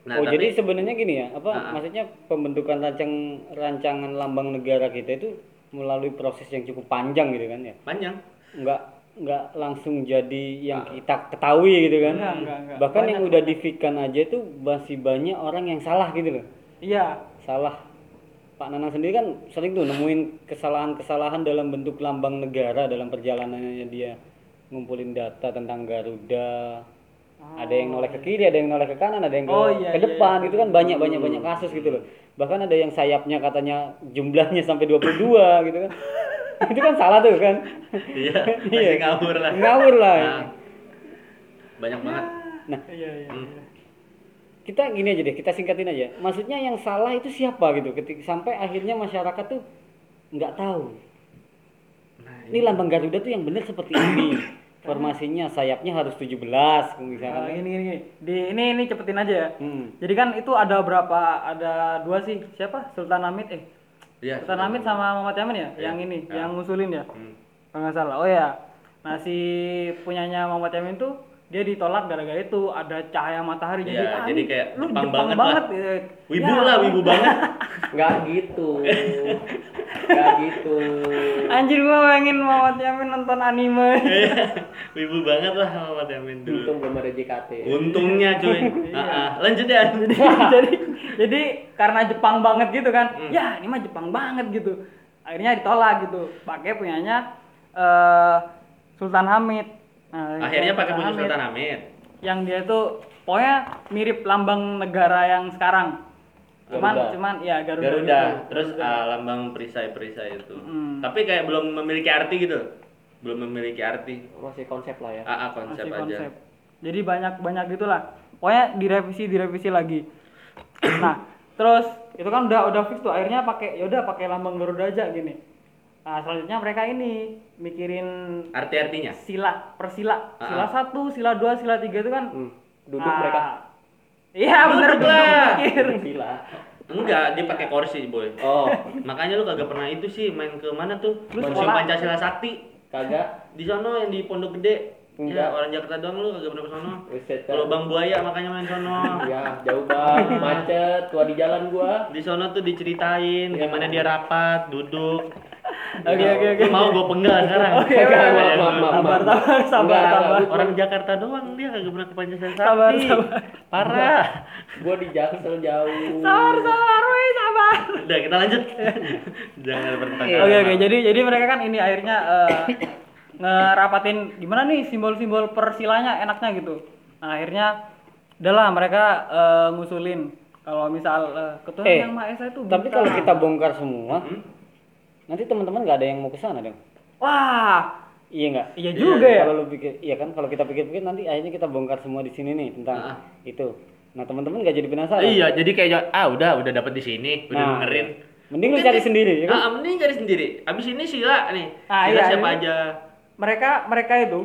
Nah, oh tapi- jadi sebenarnya gini ya, apa Ah. maksudnya pembentukan rancang rancangan lambang negara kita itu melalui proses yang cukup panjang gitu kan ya. panjang. Nggak nggak langsung jadi yang Nah. kita ketahui gitu kan. Enggak, enggak, enggak. Bahkan yang Banyak. udah difikan aja itu masih banyak orang yang salah gitu loh. iya Salah. Pak Nanang sendiri kan sering tuh nemuin kesalahan-kesalahan dalam bentuk lambang negara dalam perjalanannya dia ngumpulin data tentang Garuda. Ada yang noleh ke kiri, ada yang noleh ke kanan, ada yang ke, iya. Oh, iya, iya, ke Hmm. depan. Itu kan banyak banyak banyak kasus gitu loh. Bahkan ada yang sayapnya katanya jumlahnya sampai 22 gitu kan. itu kan salah tuh kan. Iya, masih ngawur lah. Ngawur lah. Nah, banyak banget. iya iya iya. kita gini aja deh kita singkatin aja maksudnya yang salah itu siapa gitu ketik sampai akhirnya masyarakat tuh nggak tahu Nah, ini iya. lambang Garuda tuh yang benar seperti ini formasinya sayapnya harus 17 Nah, misalnya ini, ini, ini. Di, ini ini cepetin aja ya Hmm. jadi kan itu ada berapa ada dua sih siapa Sultan Hamid eh Iya. Sultan Hamid sama Muhammad Yamin ya yang ini yang ngusulin ya Hmm. kalau nggak salah oh ya nah si punyanya Muhammad Yamin tuh dia ditolak gara-gara itu ada cahaya matahari Iya, ah, jadi ini kayak lu Jepang Jepang, banget banget, lah. gitu. Wibu Ya, lah, wibu banget. Nggak gitu. Nggak gitu. anjir gua pengen Muhammad Yamin nonton anime Iya, wibu banget lah sama Mas Yamin dulu. Untung belum ada JKT. Untungnya cuy. Heeh. Lanjut ya. jadi jadi karena Jepang banget gitu kan Hmm. ya ini mah Jepang banget gitu akhirnya ditolak gitu pakai punyanya eh, Sultan Hamid Nah, Akhirnya pakai baju Sultan Hamid. yang dia itu pokoknya mirip lambang negara yang sekarang cuman Garuda. cuman ya Garuda, Garuda, gitu. terus ah, lambang perisai-perisai itu. Hmm. Tapi kayak belum memiliki arti gitu. Belum memiliki arti. Masih konsep lah ya. Ah, ah, Masih konsep, konsep. aja. jadi banyak banyak gitulah pokoknya direvisi direvisi lagi nah terus itu kan udah udah fix tuh akhirnya pakai yaudah pakai lambang Garuda aja gini nah selanjutnya mereka ini mikirin Arti-artinya. sila persila Ah, sila ah. satu sila dua sila tiga itu kan Hmm. Duduk mereka. iya bener Duduk Iya. lah. mikir. Gila. Enggak, dia pakai kursi, boy. Oh, Makanya lu kagak pernah itu sih main ke mana tuh? Lu Lu sekolah. Pancasila Sakti. kagak. Di sono yang di Pondok Gede. Ya, Enggak. orang Jakarta doang lu kagak pernah ke sono. Buset, dah. Kalau Bang Buaya makanya main sono. Ya, kan? jauh banget, macet, tua di jalan gua. di sono tuh diceritain Iya. gimana dia rapat, duduk. Oke, oke, oke. Lu mau gua penggal sekarang. Oke, oke, Kagak, oke. ya, Maaf, lu. maaf, sabar sabar maaf. sabar Enggak, sabar enggak. Orang Jakarta doang dia kagak pernah ke Pancasila Sakti. Sabar, sabar. Parah. Gua di Jaksel jauh. sabar sabar weh, sabar Udah, kita lanjut. Jangan ada Iya, pertanyaan. Oke oke jadi jadi mereka kan ini akhirnya eh, ngerapatin gimana nih simbol-simbol persilanya enaknya gitu. Nah, akhirnya adalah mereka eh, ngusulin kalau misal eh, ketua Eh, yang Maha Esa itu tapi buta. kalau kita bongkar semua Hmm? nanti teman-teman nggak ada yang mau ke sana dong wah, iya nggak iya juga ya. kalau lu pikir iya kan kalau kita pikir-pikir nanti akhirnya kita bongkar semua di sini nih tentang Ah. itu nah teman-teman nggak jadi penasaran Iya, jadi kayak ah udah udah dapet di sini, udah Nah, dengerin. mending lu cari sendiri ya kan? Ah, mending cari sendiri. Abis ini sila nih. Ah, sila iya, siapa iya. aja? Mereka mereka itu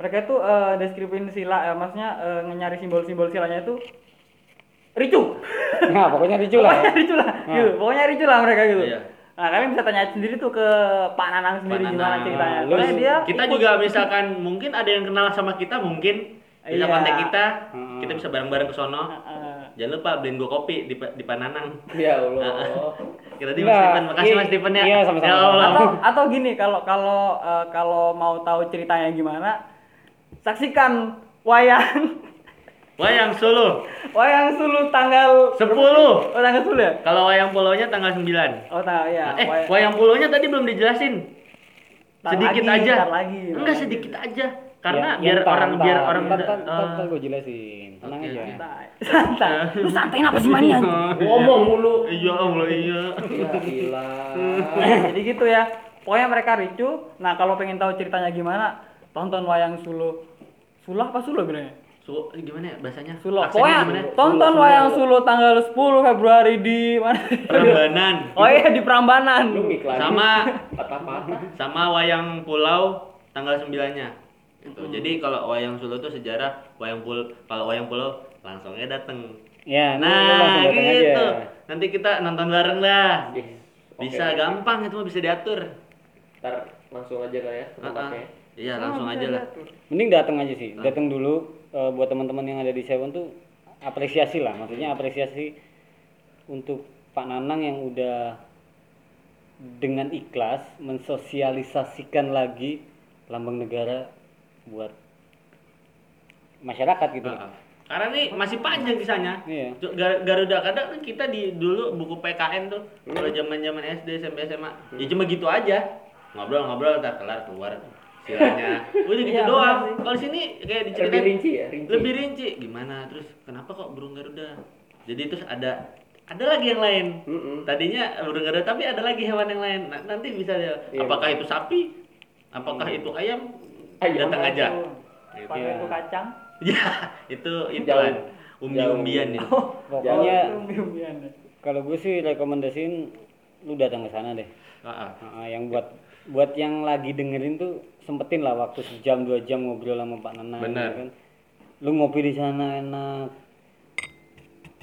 mereka itu eh, deskripsiin sila eh, maksudnya eh, nyari simbol-simbol silanya itu ricu. nah pokoknya ricu lah ya. Pokoknya ricu lah. Gitu. Pokoknya ricu lah mereka gitu. Iya. Nah, kalian bisa tanya sendiri tuh ke Pak Nanang sendiri Pak gimana Nanang. ceritanya. Nah, lu- Soalnya dia Kita juga misalkan mungkin ada yang kenal sama kita mungkin bisa Iya. kontak kita, Hmm. kita bisa bareng-bareng ke sono. Eh, Jangan lupa beliin gua kopi di Pa- di Pananang. Ya Ah, Allah. Kira di Mas Enggak. Steven, makasih Iya, Mas Steven ya. iya, sama-sama. Ya Allah. atau atau gini kalau kalau eh, kalau mau tahu ceritanya gimana saksikan wayang Wayang Solo wayang sulu tanggal 10. oh, tanggal sulu ya Kalau wayang polonya tanggal 9. oh tanggal ya Eh, wayang- wayang polonya tadi belum dijelasin. Ntar sedikit lagi, aja. ntar lagi, ntar Enggak lagi. sedikit aja. Karena Ya, biar ntar, orang ntar, biar orang ntar, muda- ntar, ntar, eh, ntar gue jelasin. Tenang Oke, aja. santai santai lu santai apa sih mania ngomong mulu iya Allah iya gila jadi gitu ya pokoknya mereka ricu nah kalau pengen tahu ceritanya gimana tonton wayang sulo sulah apa sulo bilangnya Su- gimana ya bahasanya sulo Aksennya pokoknya gimana? tonton wayang sulo tanggal 10 Februari di mana Rambanan oh iya di Prambanan lu ngiklan sama patah-patah sama wayang pulau tanggal sembilannya itu jadi kalau wayang solo itu sejarah wayang pul kalau wayang pulau langsungnya dateng Ya, lu nah langsung datang aja. Iya, gitu nanti kita nonton bareng lah Yes. Oke. bisa gampang itu mah bisa diatur ntar langsung aja kali ya ke tempatnya. Heeh. iya langsung aja lah Mending datang aja sih. Datang dulu eh, buat teman-teman yang ada di Seven tuh apresiasi lah. Maksudnya apresiasi untuk Pak Nanang yang udah dengan ikhlas mensosialisasikan lagi lambang negara buat masyarakat gitu. Heeh. Karena nih masih panjang kisahnya. Iya. Cuk, Gar- Garuda kadang kan kita di dulu buku PKN tuh kalau zaman-zaman SD SMP SMA ya cuma gitu aja ngobrol-ngobrol tak kelar keluar silanya udah gitu Iya, doang benar sih. kalau sini kayak diceritain lebih rinci ya rinci lebih rinci gimana terus kenapa kok burung Garuda jadi terus ada ada lagi yang lain Mm-mm. tadinya burung Garuda tapi ada lagi hewan yang lain Nah, nanti bisa ya, Iya, apakah itu sapi apakah itu ayam, Ayam datang aja Pak itu kacang Ya, itu itu Jauh. Oh. kan umbi-umbian itu. Pokoknya umbi-umbian ya. kalau gue sih rekomendasiin lu datang ke sana deh. Heeh. Heeh, Ah, yang buat buat yang lagi dengerin tuh sempetin lah waktu sejam dua jam ngobrol sama Pak Nanang Bener. ya kan. Lu ngopi di sana enak.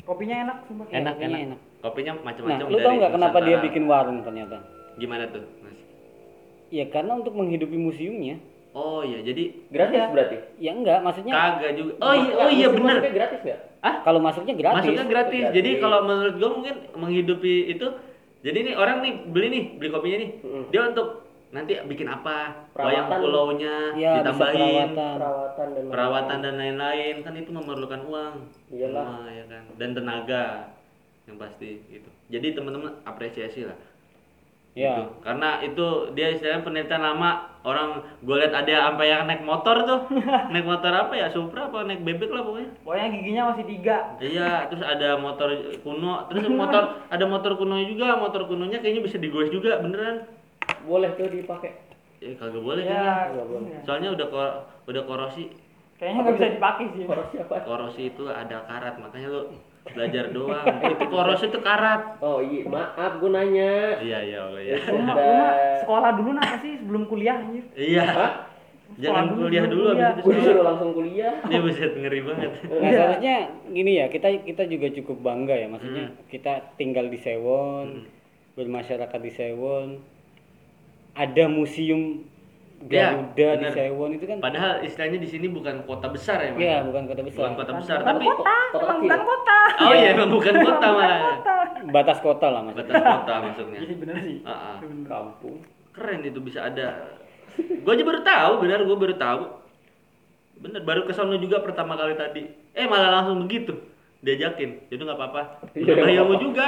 kopinya enak sumpah Enak, Kopinya enak. enak. Kopinya macam-macam Nah, lu tau nggak kenapa dia bikin warung ternyata? Gimana tuh, Mas? Ya karena untuk menghidupi museumnya. Oh iya, jadi gratis berarti Ya enggak, maksudnya kagak juga. Oh iya, oh iya Maksudnya benar. gratis nggak kalau masuknya gratis. Masuknya gratis. Gratis. Jadi kalau menurut gua mungkin menghidupi itu jadi nih orang nih beli nih, beli kopinya nih. Hmm. Mm-mm. Dia untuk nanti bikin apa? Perawatan. Wayang pulaunya ya bisa ditambahin perawatan. perawatan dan perawatan dan lain-lain kan itu memerlukan uang Iyalah. Semua, ya kan dan tenaga yang pasti gitu jadi teman-teman apresiasi lah Ya. Gitu. karena itu dia istilahnya penelitian lama orang gue lihat ada sampai yang naik motor tuh naik motor apa ya Supra apa naik bebek lah pokoknya pokoknya giginya masih tiga iya terus ada motor kuno terus motor ada motor kuno juga motor kunonya kayaknya bisa digoes juga beneran boleh tuh dipakai ya kagak boleh ya kayaknya soalnya udah kor- udah korosi kayaknya nggak bisa dipakai sih korosi apa korosi itu ada karat makanya lu belajar doang itu korosi itu karat oh iya maaf gue nanya iya iya Allah ya Rumah, rumah, sekolah dulu nah apa sih sebelum kuliah anjir iya Hah? jangan Sekolah kuliah dulu, dulu kuliah. habis itu gue disuruh sekolah. langsung kuliah ini buset ngeri banget Nah, seharusnya gini ya, kita kita juga cukup bangga ya, maksudnya Hmm. kita tinggal di Sewon, bermasyarakat di Sewon. Ada museum Ya, Garuda di bener. Sewon itu kan padahal istilahnya di sini bukan kota besar ya Mas? ya bukan kota besar. bukan kota besar Bukan tapi kota emang kota kecil. bukan kota oh iya emang bukan kota malah Batas kota lah maksudnya. batas kota maksudnya Iya bener sih. Ah, ah. kampung keren itu bisa ada gue aja baru tahu benar gue baru tahu bener baru ke sono juga pertama kali tadi eh malah langsung begitu diajakin jadi nggak apa-apa Iya, Nambah nggak ilmu apa-apa. juga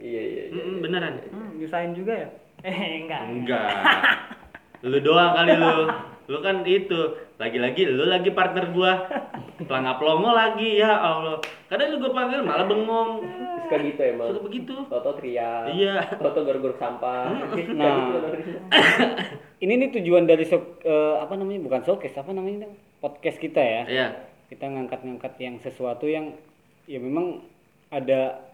iya iya iya Mm-mm, beneran Hmm, nyusahin juga ya? Eh, enggak. enggak lu doang kali lu lu kan itu lagi-lagi lu lagi partner gua pelangap lomo lagi ya Allah kadang lu gua panggil malah bengong suka gitu emang suka begitu Toto teriak iya Hmm. Toto garuk-garuk sampah gitu. Nah. Ini nih tujuan dari sok- eh, apa namanya? Bukan showcase, apa namanya? Dang? Podcast kita ya. iya Kita ngangkat-ngangkat yang sesuatu yang ya memang ada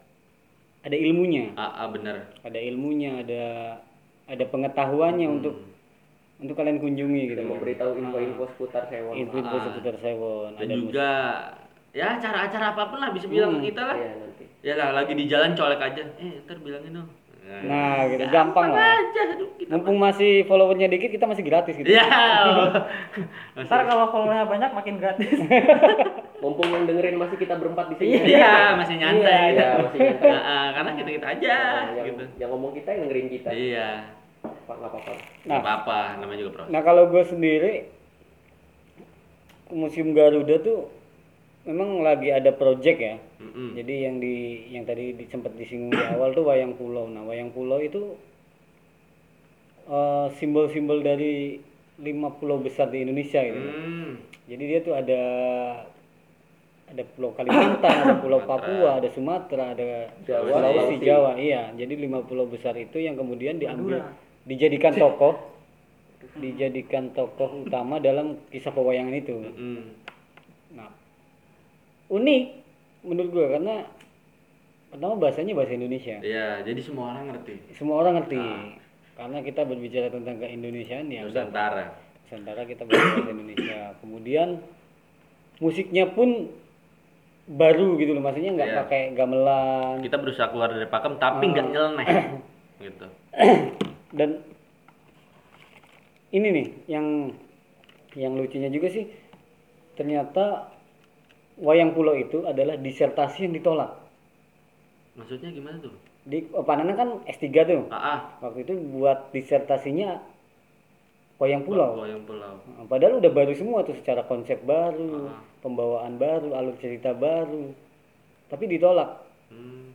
ada ilmunya. ah, ah, bener ada ilmunya ada ada pengetahuannya Hmm. untuk untuk kalian kunjungi gitu dan memberitahu info-info seputar Ah, hewan info-info seputar Sewon dan ada Hmm. juga ya acara-acara apapun lah bisa bilang ke kita lah Iya, nanti ya lah lagi di jalan colek aja eh ntar bilangin dong mus- nah gitu gampang lah aja aduh gitu. kita mumpung masih followernya dikit kita masih gratis gitu ya Allah. Ntar kalau followernya banyak makin gratis. mumpung yang dengerin masih kita berempat di sini iya masih nyantai Iya, gitu. masih nyantai. Ah, ah, karena kita kita Iya, aja Nah, yang, gitu yang ngomong kita yang dengerin kita iya apa nggak apa-apa Nah. Nggak apa-apa, namanya juga proses. nah kalau gue sendiri museum Garuda tuh memang lagi ada project ya Mm-mm. jadi yang di yang tadi di, sempat disinggung di awal tuh wayang pulau nah wayang pulau itu eh, simbol-simbol dari lima pulau besar di Indonesia gitu. Hmm. Jadi dia tuh ada ada pulau Kalimantan, ada pulau Papua, ada Sumatera, ada Jawa, Sulawesi, Sulawesi. Jawa. Iya, jadi lima pulau besar itu yang kemudian diambil dijadikan tokoh dijadikan tokoh utama dalam kisah pewayangan itu. Hmm. Nah, unik menurut gua karena pertama bahasanya bahasa Indonesia. Iya, jadi semua orang ngerti. Semua orang ngerti. Karena kita berbicara tentang keindonesiaan ya udah Nusantara. Nusantara kita bahasa Indonesia. Kemudian musiknya pun baru gitu loh, maksudnya nggak Iya. Gitu. pakai gamelan Kita berusaha keluar dari pakem tapi nggak Hmm. nyeleneh. gitu. dan ini nih yang yang lucunya juga sih ternyata wayang pulau itu adalah disertasi yang ditolak. Maksudnya gimana tuh? Di oh, Panana kan S3 tuh. Ah, Waktu itu buat disertasinya wayang pulau. pulau. Goyang pulau. Nah, Padahal udah baru semua tuh secara konsep baru, Ah. pembawaan baru, alur cerita baru. Tapi ditolak. Hmm.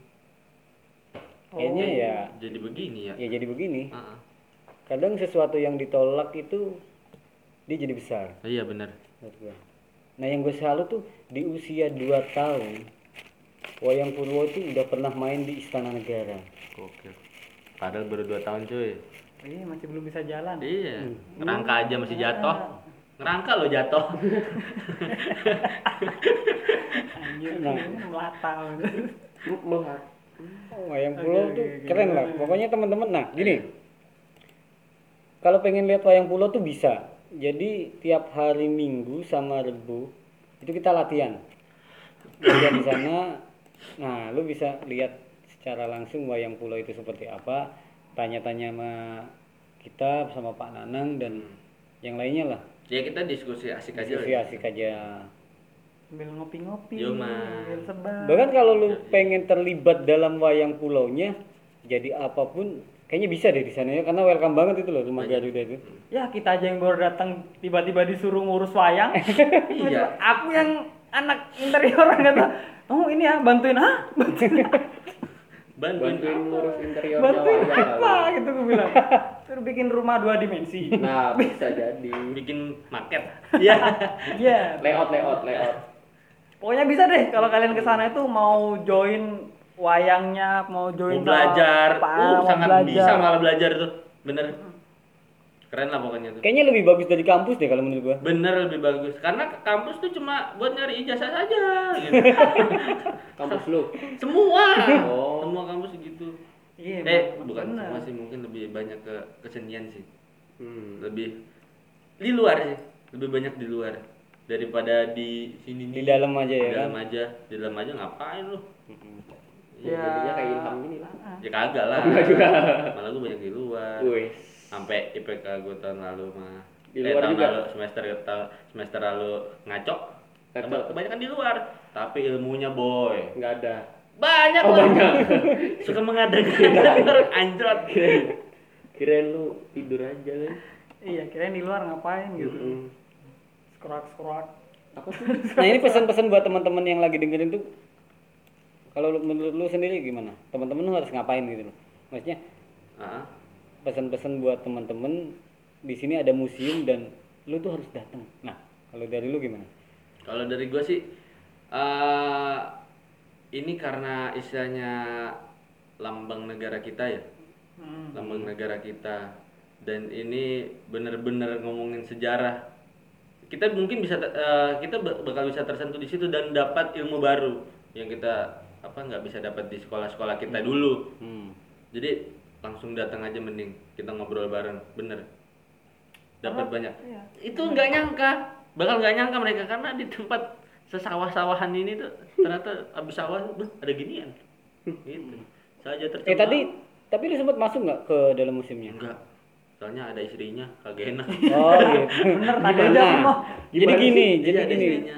Oh. Kayaknya ya Jadi begini ya. ya jadi begini. Ah, ah. Kadang sesuatu yang ditolak itu dia jadi besar Oh, iya benar. menurut gua. Nah, yang gue salut tuh di usia 2 tahun Wayang Purwo itu udah pernah main di Istana Negara. Oke. Padahal baru 2 tahun cuy. Ini Iya, masih belum bisa jalan. Iya. Ngerangka aja masih jatuh. Ngerangka lo jatuh. Anjir, Nah. ini melata. Oh, Wayang Pulau Oke, tuh oke, oke. keren lah. Pokoknya teman-teman nah gini. Kalau pengen lihat Wayang Pulau tuh bisa. Jadi tiap hari Minggu sama Rebu itu kita latihan. Latihan di sana. Nah, lu bisa lihat secara langsung Wayang Pulau itu seperti apa. Tanya-tanya sama kita sama Pak Nanang dan yang lainnya lah. ya kita diskusi asik aja. Diskusi asik aja. Sambil ngopi-ngopi, Yo, Man. sambil sebar. Bahkan kalau lu pengen terlibat dalam wayang pulaunya, jadi apapun kayaknya bisa deh di sana ya karena welcome banget itu loh rumah Garuda itu. Ya kita aja yang baru datang tiba-tiba disuruh ngurus wayang. Iya. Aku yang anak interior kata, kamu ini ya bantuin ah, bantuin, Bantuin. bantuin ngurus interiornya bantuin wayang. apa gitu gue bilang. Terus bikin rumah dua dimensi. nah bisa jadi Bikin market. Iya. Iya. layout layout layout Pokoknya bisa deh kalau kalian ke sana itu mau join wayangnya, mau mau join sama belajar. apa, Uh, mau sangat belajar. bisa malah belajar tuh. Bener. Keren lah pokoknya tuh. Kayaknya lebih bagus dari kampus deh kalau menurut gua. Bener lebih bagus. Karena ke kampus tuh cuma buat nyari ijazah saja. Gitu. kampus lu semua. Oh. Semua kampus gitu. Iya, eh Bang. bukan Bener. semua sih mungkin lebih banyak ke kesenian sih. hmm. Lebih di luar sih. Lebih banyak di luar daripada di sini nih. Di dalam aja Di ya kan. dalam aja. Di dalam aja ngapain lu? Eh, ya. jadinya kayak ilham gini lah Ya kagak lah. Malah gue banyak di luar. Wes. Sampai IPK gue tahun lalu mah. Di Eh, luar tahun juga? lalu semester tahun- semester lalu ngacok. Ngacok. Keba- Kebanyakan di luar, tapi ilmunya boy. nggak ada Banyak oh lah. banyak Suka mengadakan orang anjrot. kirain kirain lu tidur aja kan Iya, kirain di luar ngapain gitu. Mm-mm. Skruak-skruak. apa sih Nah, ini pesan-pesan buat teman-teman yang lagi dengerin tuh kalau lu- menurut lu sendiri gimana? Teman-teman lu harus ngapain gitu loh. Maksudnya Ah, pesan-pesan buat teman-teman di sini ada museum dan lu tuh harus datang. Nah, kalau dari lu gimana? Kalau dari gue sih, eh ini karena istilahnya lambang negara kita ya, Hmm. lambang negara kita, dan ini bener-bener ngomongin sejarah. Kita mungkin bisa te- eh, kita ba- bakal bisa tersentuh di situ dan dapat ilmu baru yang kita apa nggak bisa dapat di sekolah-sekolah kita dulu. Hmm. Jadi langsung datang aja mending kita ngobrol bareng, bener. Dapat banyak. Iya. itu nggak nyangka bakal nggak nyangka mereka karena di tempat sesawah-sawahan ini tuh ternyata abis sawah "Beh, ada ginian gitu saja tercengang Eh tadi tapi lu sempat masuk nggak ke dalam museumnya? enggak soalnya ada istrinya kagak enak Oh gitu. Bener, tadi aja aku mau. Jadi Gimana gini, sih? jadi Iya, ada gini. istrinya.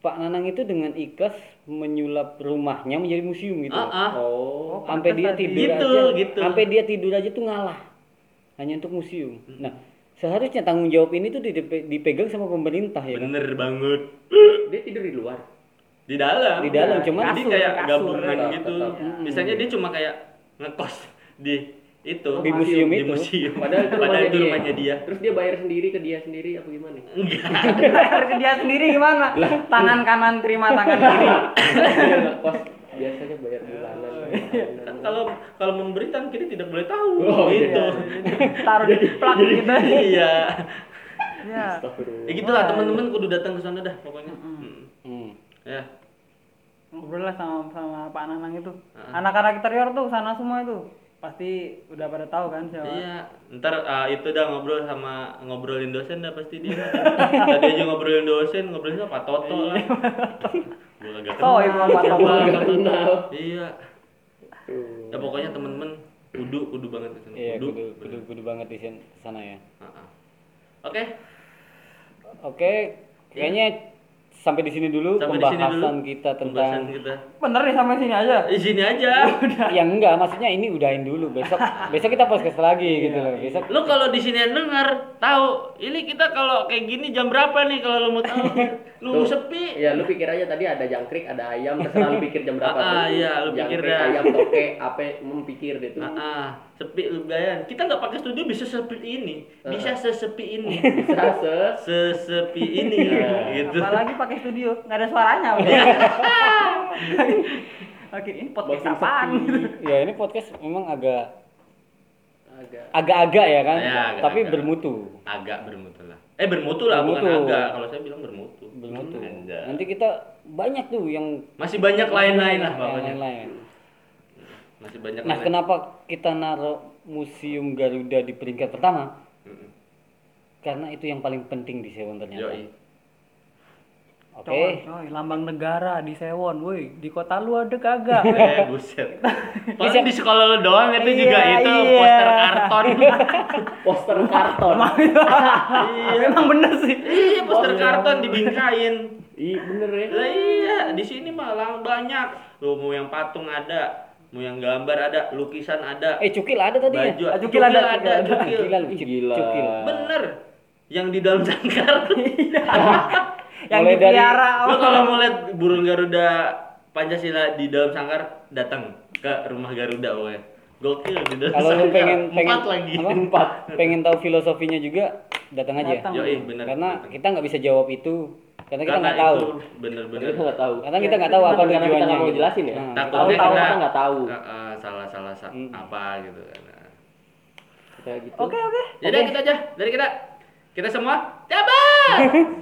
Pak Nanang itu dengan ikhlas menyulap rumahnya menjadi museum gitu. ah ah oh Oh, Sampai dia pantesan tidur Gitu, aja, gitu. sampai dia tidur aja tuh ngalah. Hanya untuk museum. Hmm. Nah, seharusnya tanggung jawab ini tuh didepe- dipegang sama pemerintah ya kan. bener banget dia tidur di luar di dalam Di dalam, cuman jadi kasur, kayak kasur. gabungan Tetap, gitu tetap. misalnya dia cuma kayak ngekos di itu Di museum di itu. museum. Padahal itu rumahnya, itu rumahnya dia. Terus dia bayar sendiri ke dia sendiri apa gimana? Enggak. Bayar ke dia sendiri gimana? Tangan kanan terima tangan kiri. Dia nggak kos. Biasanya bayar bulanan. Kan kalau kalau memberi kan kita tidak boleh tahu Oh, gitu. iya. Taruh di plak gitu. Iya. Ya. Ya gitulah teman-teman kudu datang ke sana dah pokoknya. Hmm. Hmm. Ya. Ngobrol lah sama sama Pak Nanang itu. Anak-anak interior tuh sana semua itu. Pasti udah pada tahu kan siapa. Iya, ntar ah, itu dah ngobrol sama ngobrolin dosen dah pasti dia. Tadi aja ngobrolin dosen, ngobrolin sama Pak Toto lah. Gua kagak kenal. Soib sama Pak Toto. Gua kagak kenal. Iya. Ya pokoknya temen-temen kudu kudu banget itu. Iya, kudu, kudu, kudu banget di sen- sana ya. Ah, ah. Oke, Oke, kayaknya sampai di sini dulu Iya. sampai di sini dulu. pembahasan kita Pembahasan tentang kita. Bener nih sampai sini aja. Di sini aja. yang Ya, enggak maksudnya ini udahin dulu besok besok kita podcast lagi Iya, gitu loh besok Lu kalau di sini yang denger tahu ini kita kalau kayak gini jam berapa nih kalau lu mau tahu nunggu sepi. Iya, Ya lu pikir aja tadi ada jangkrik, ada ayam, terserah lu pikir jam berapa Ah, ah, tuh. iya, lu pikir Jangkrik, dah. ayam, toke, apa mempikir deh tuh. Ah, ah, sepi lumayan. Kita nggak pakai studio bisa sepi ini, bisa sesepi ini, Bisa se sesepi ini, gitu. Apalagi pakai studio, nggak ada suaranya. udah. Oke, ini podcast Makin apaan? sepi. gitu. ya ini podcast memang agak agak agak-agak ya kan Ya, agak-agak. tapi bermutu Agak bermutu lah. Eh bermutu lah, bukan Bermutu. agak. Kalau saya bilang bermutu. bermutu Anda. nanti kita banyak tuh yang Masih banyak lain-lain lah yang pokoknya. lain-lain. Masih banyak nah lain. kenapa kita naruh museum Garuda di peringkat pertama karena itu yang paling penting di Sewon ternyata Yoi. oke Coy, coy, lambang negara di Sewon, woi, di kota lu ada kagak? Eh buset. Paling di sekolah lo doang itu juga Iya, itu iya. poster karton. poster karton. Memang bener sih. iya, poster karton dibingkain. Ih, bener ya. Lah iya, di sini malah banyak. Lu mau yang patung ada, mau yang gambar ada, lukisan ada, eh cukil ada tadi ya baju Ah, cukil ada, ada, cukil ada. cukil. gila lu Cuk- Gila. cukil Bener. Yang di dalam sangkar. Yang Mulai dari- dipelihara Oh, Lu sama- kalau mau lihat burung Garuda Pancasila di dalam sangkar, datang ke rumah Garuda pokoknya. Gokil di dalam kalau lu sangkar. pengen pengen Empat lagi. apa? pengen tahu filosofinya juga datang aja Datang. Yoi, bener. karena Datang. kita nggak bisa jawab itu karena Karena kita kan nggak tahu itu bener-bener. Kita nggak tahu. karena kita nggak tahu apa Karena kita tujuannya nggak mau gitu. jelasin ya? Nah, Ah. Tahu Takutnya tahu kita kita nggak tahu. Eh, eh, salah salah sa- apa gitu kan. Kayak gitu. Oke, oke. gitu Jadi kita aja dari kita kita semua. Cabut.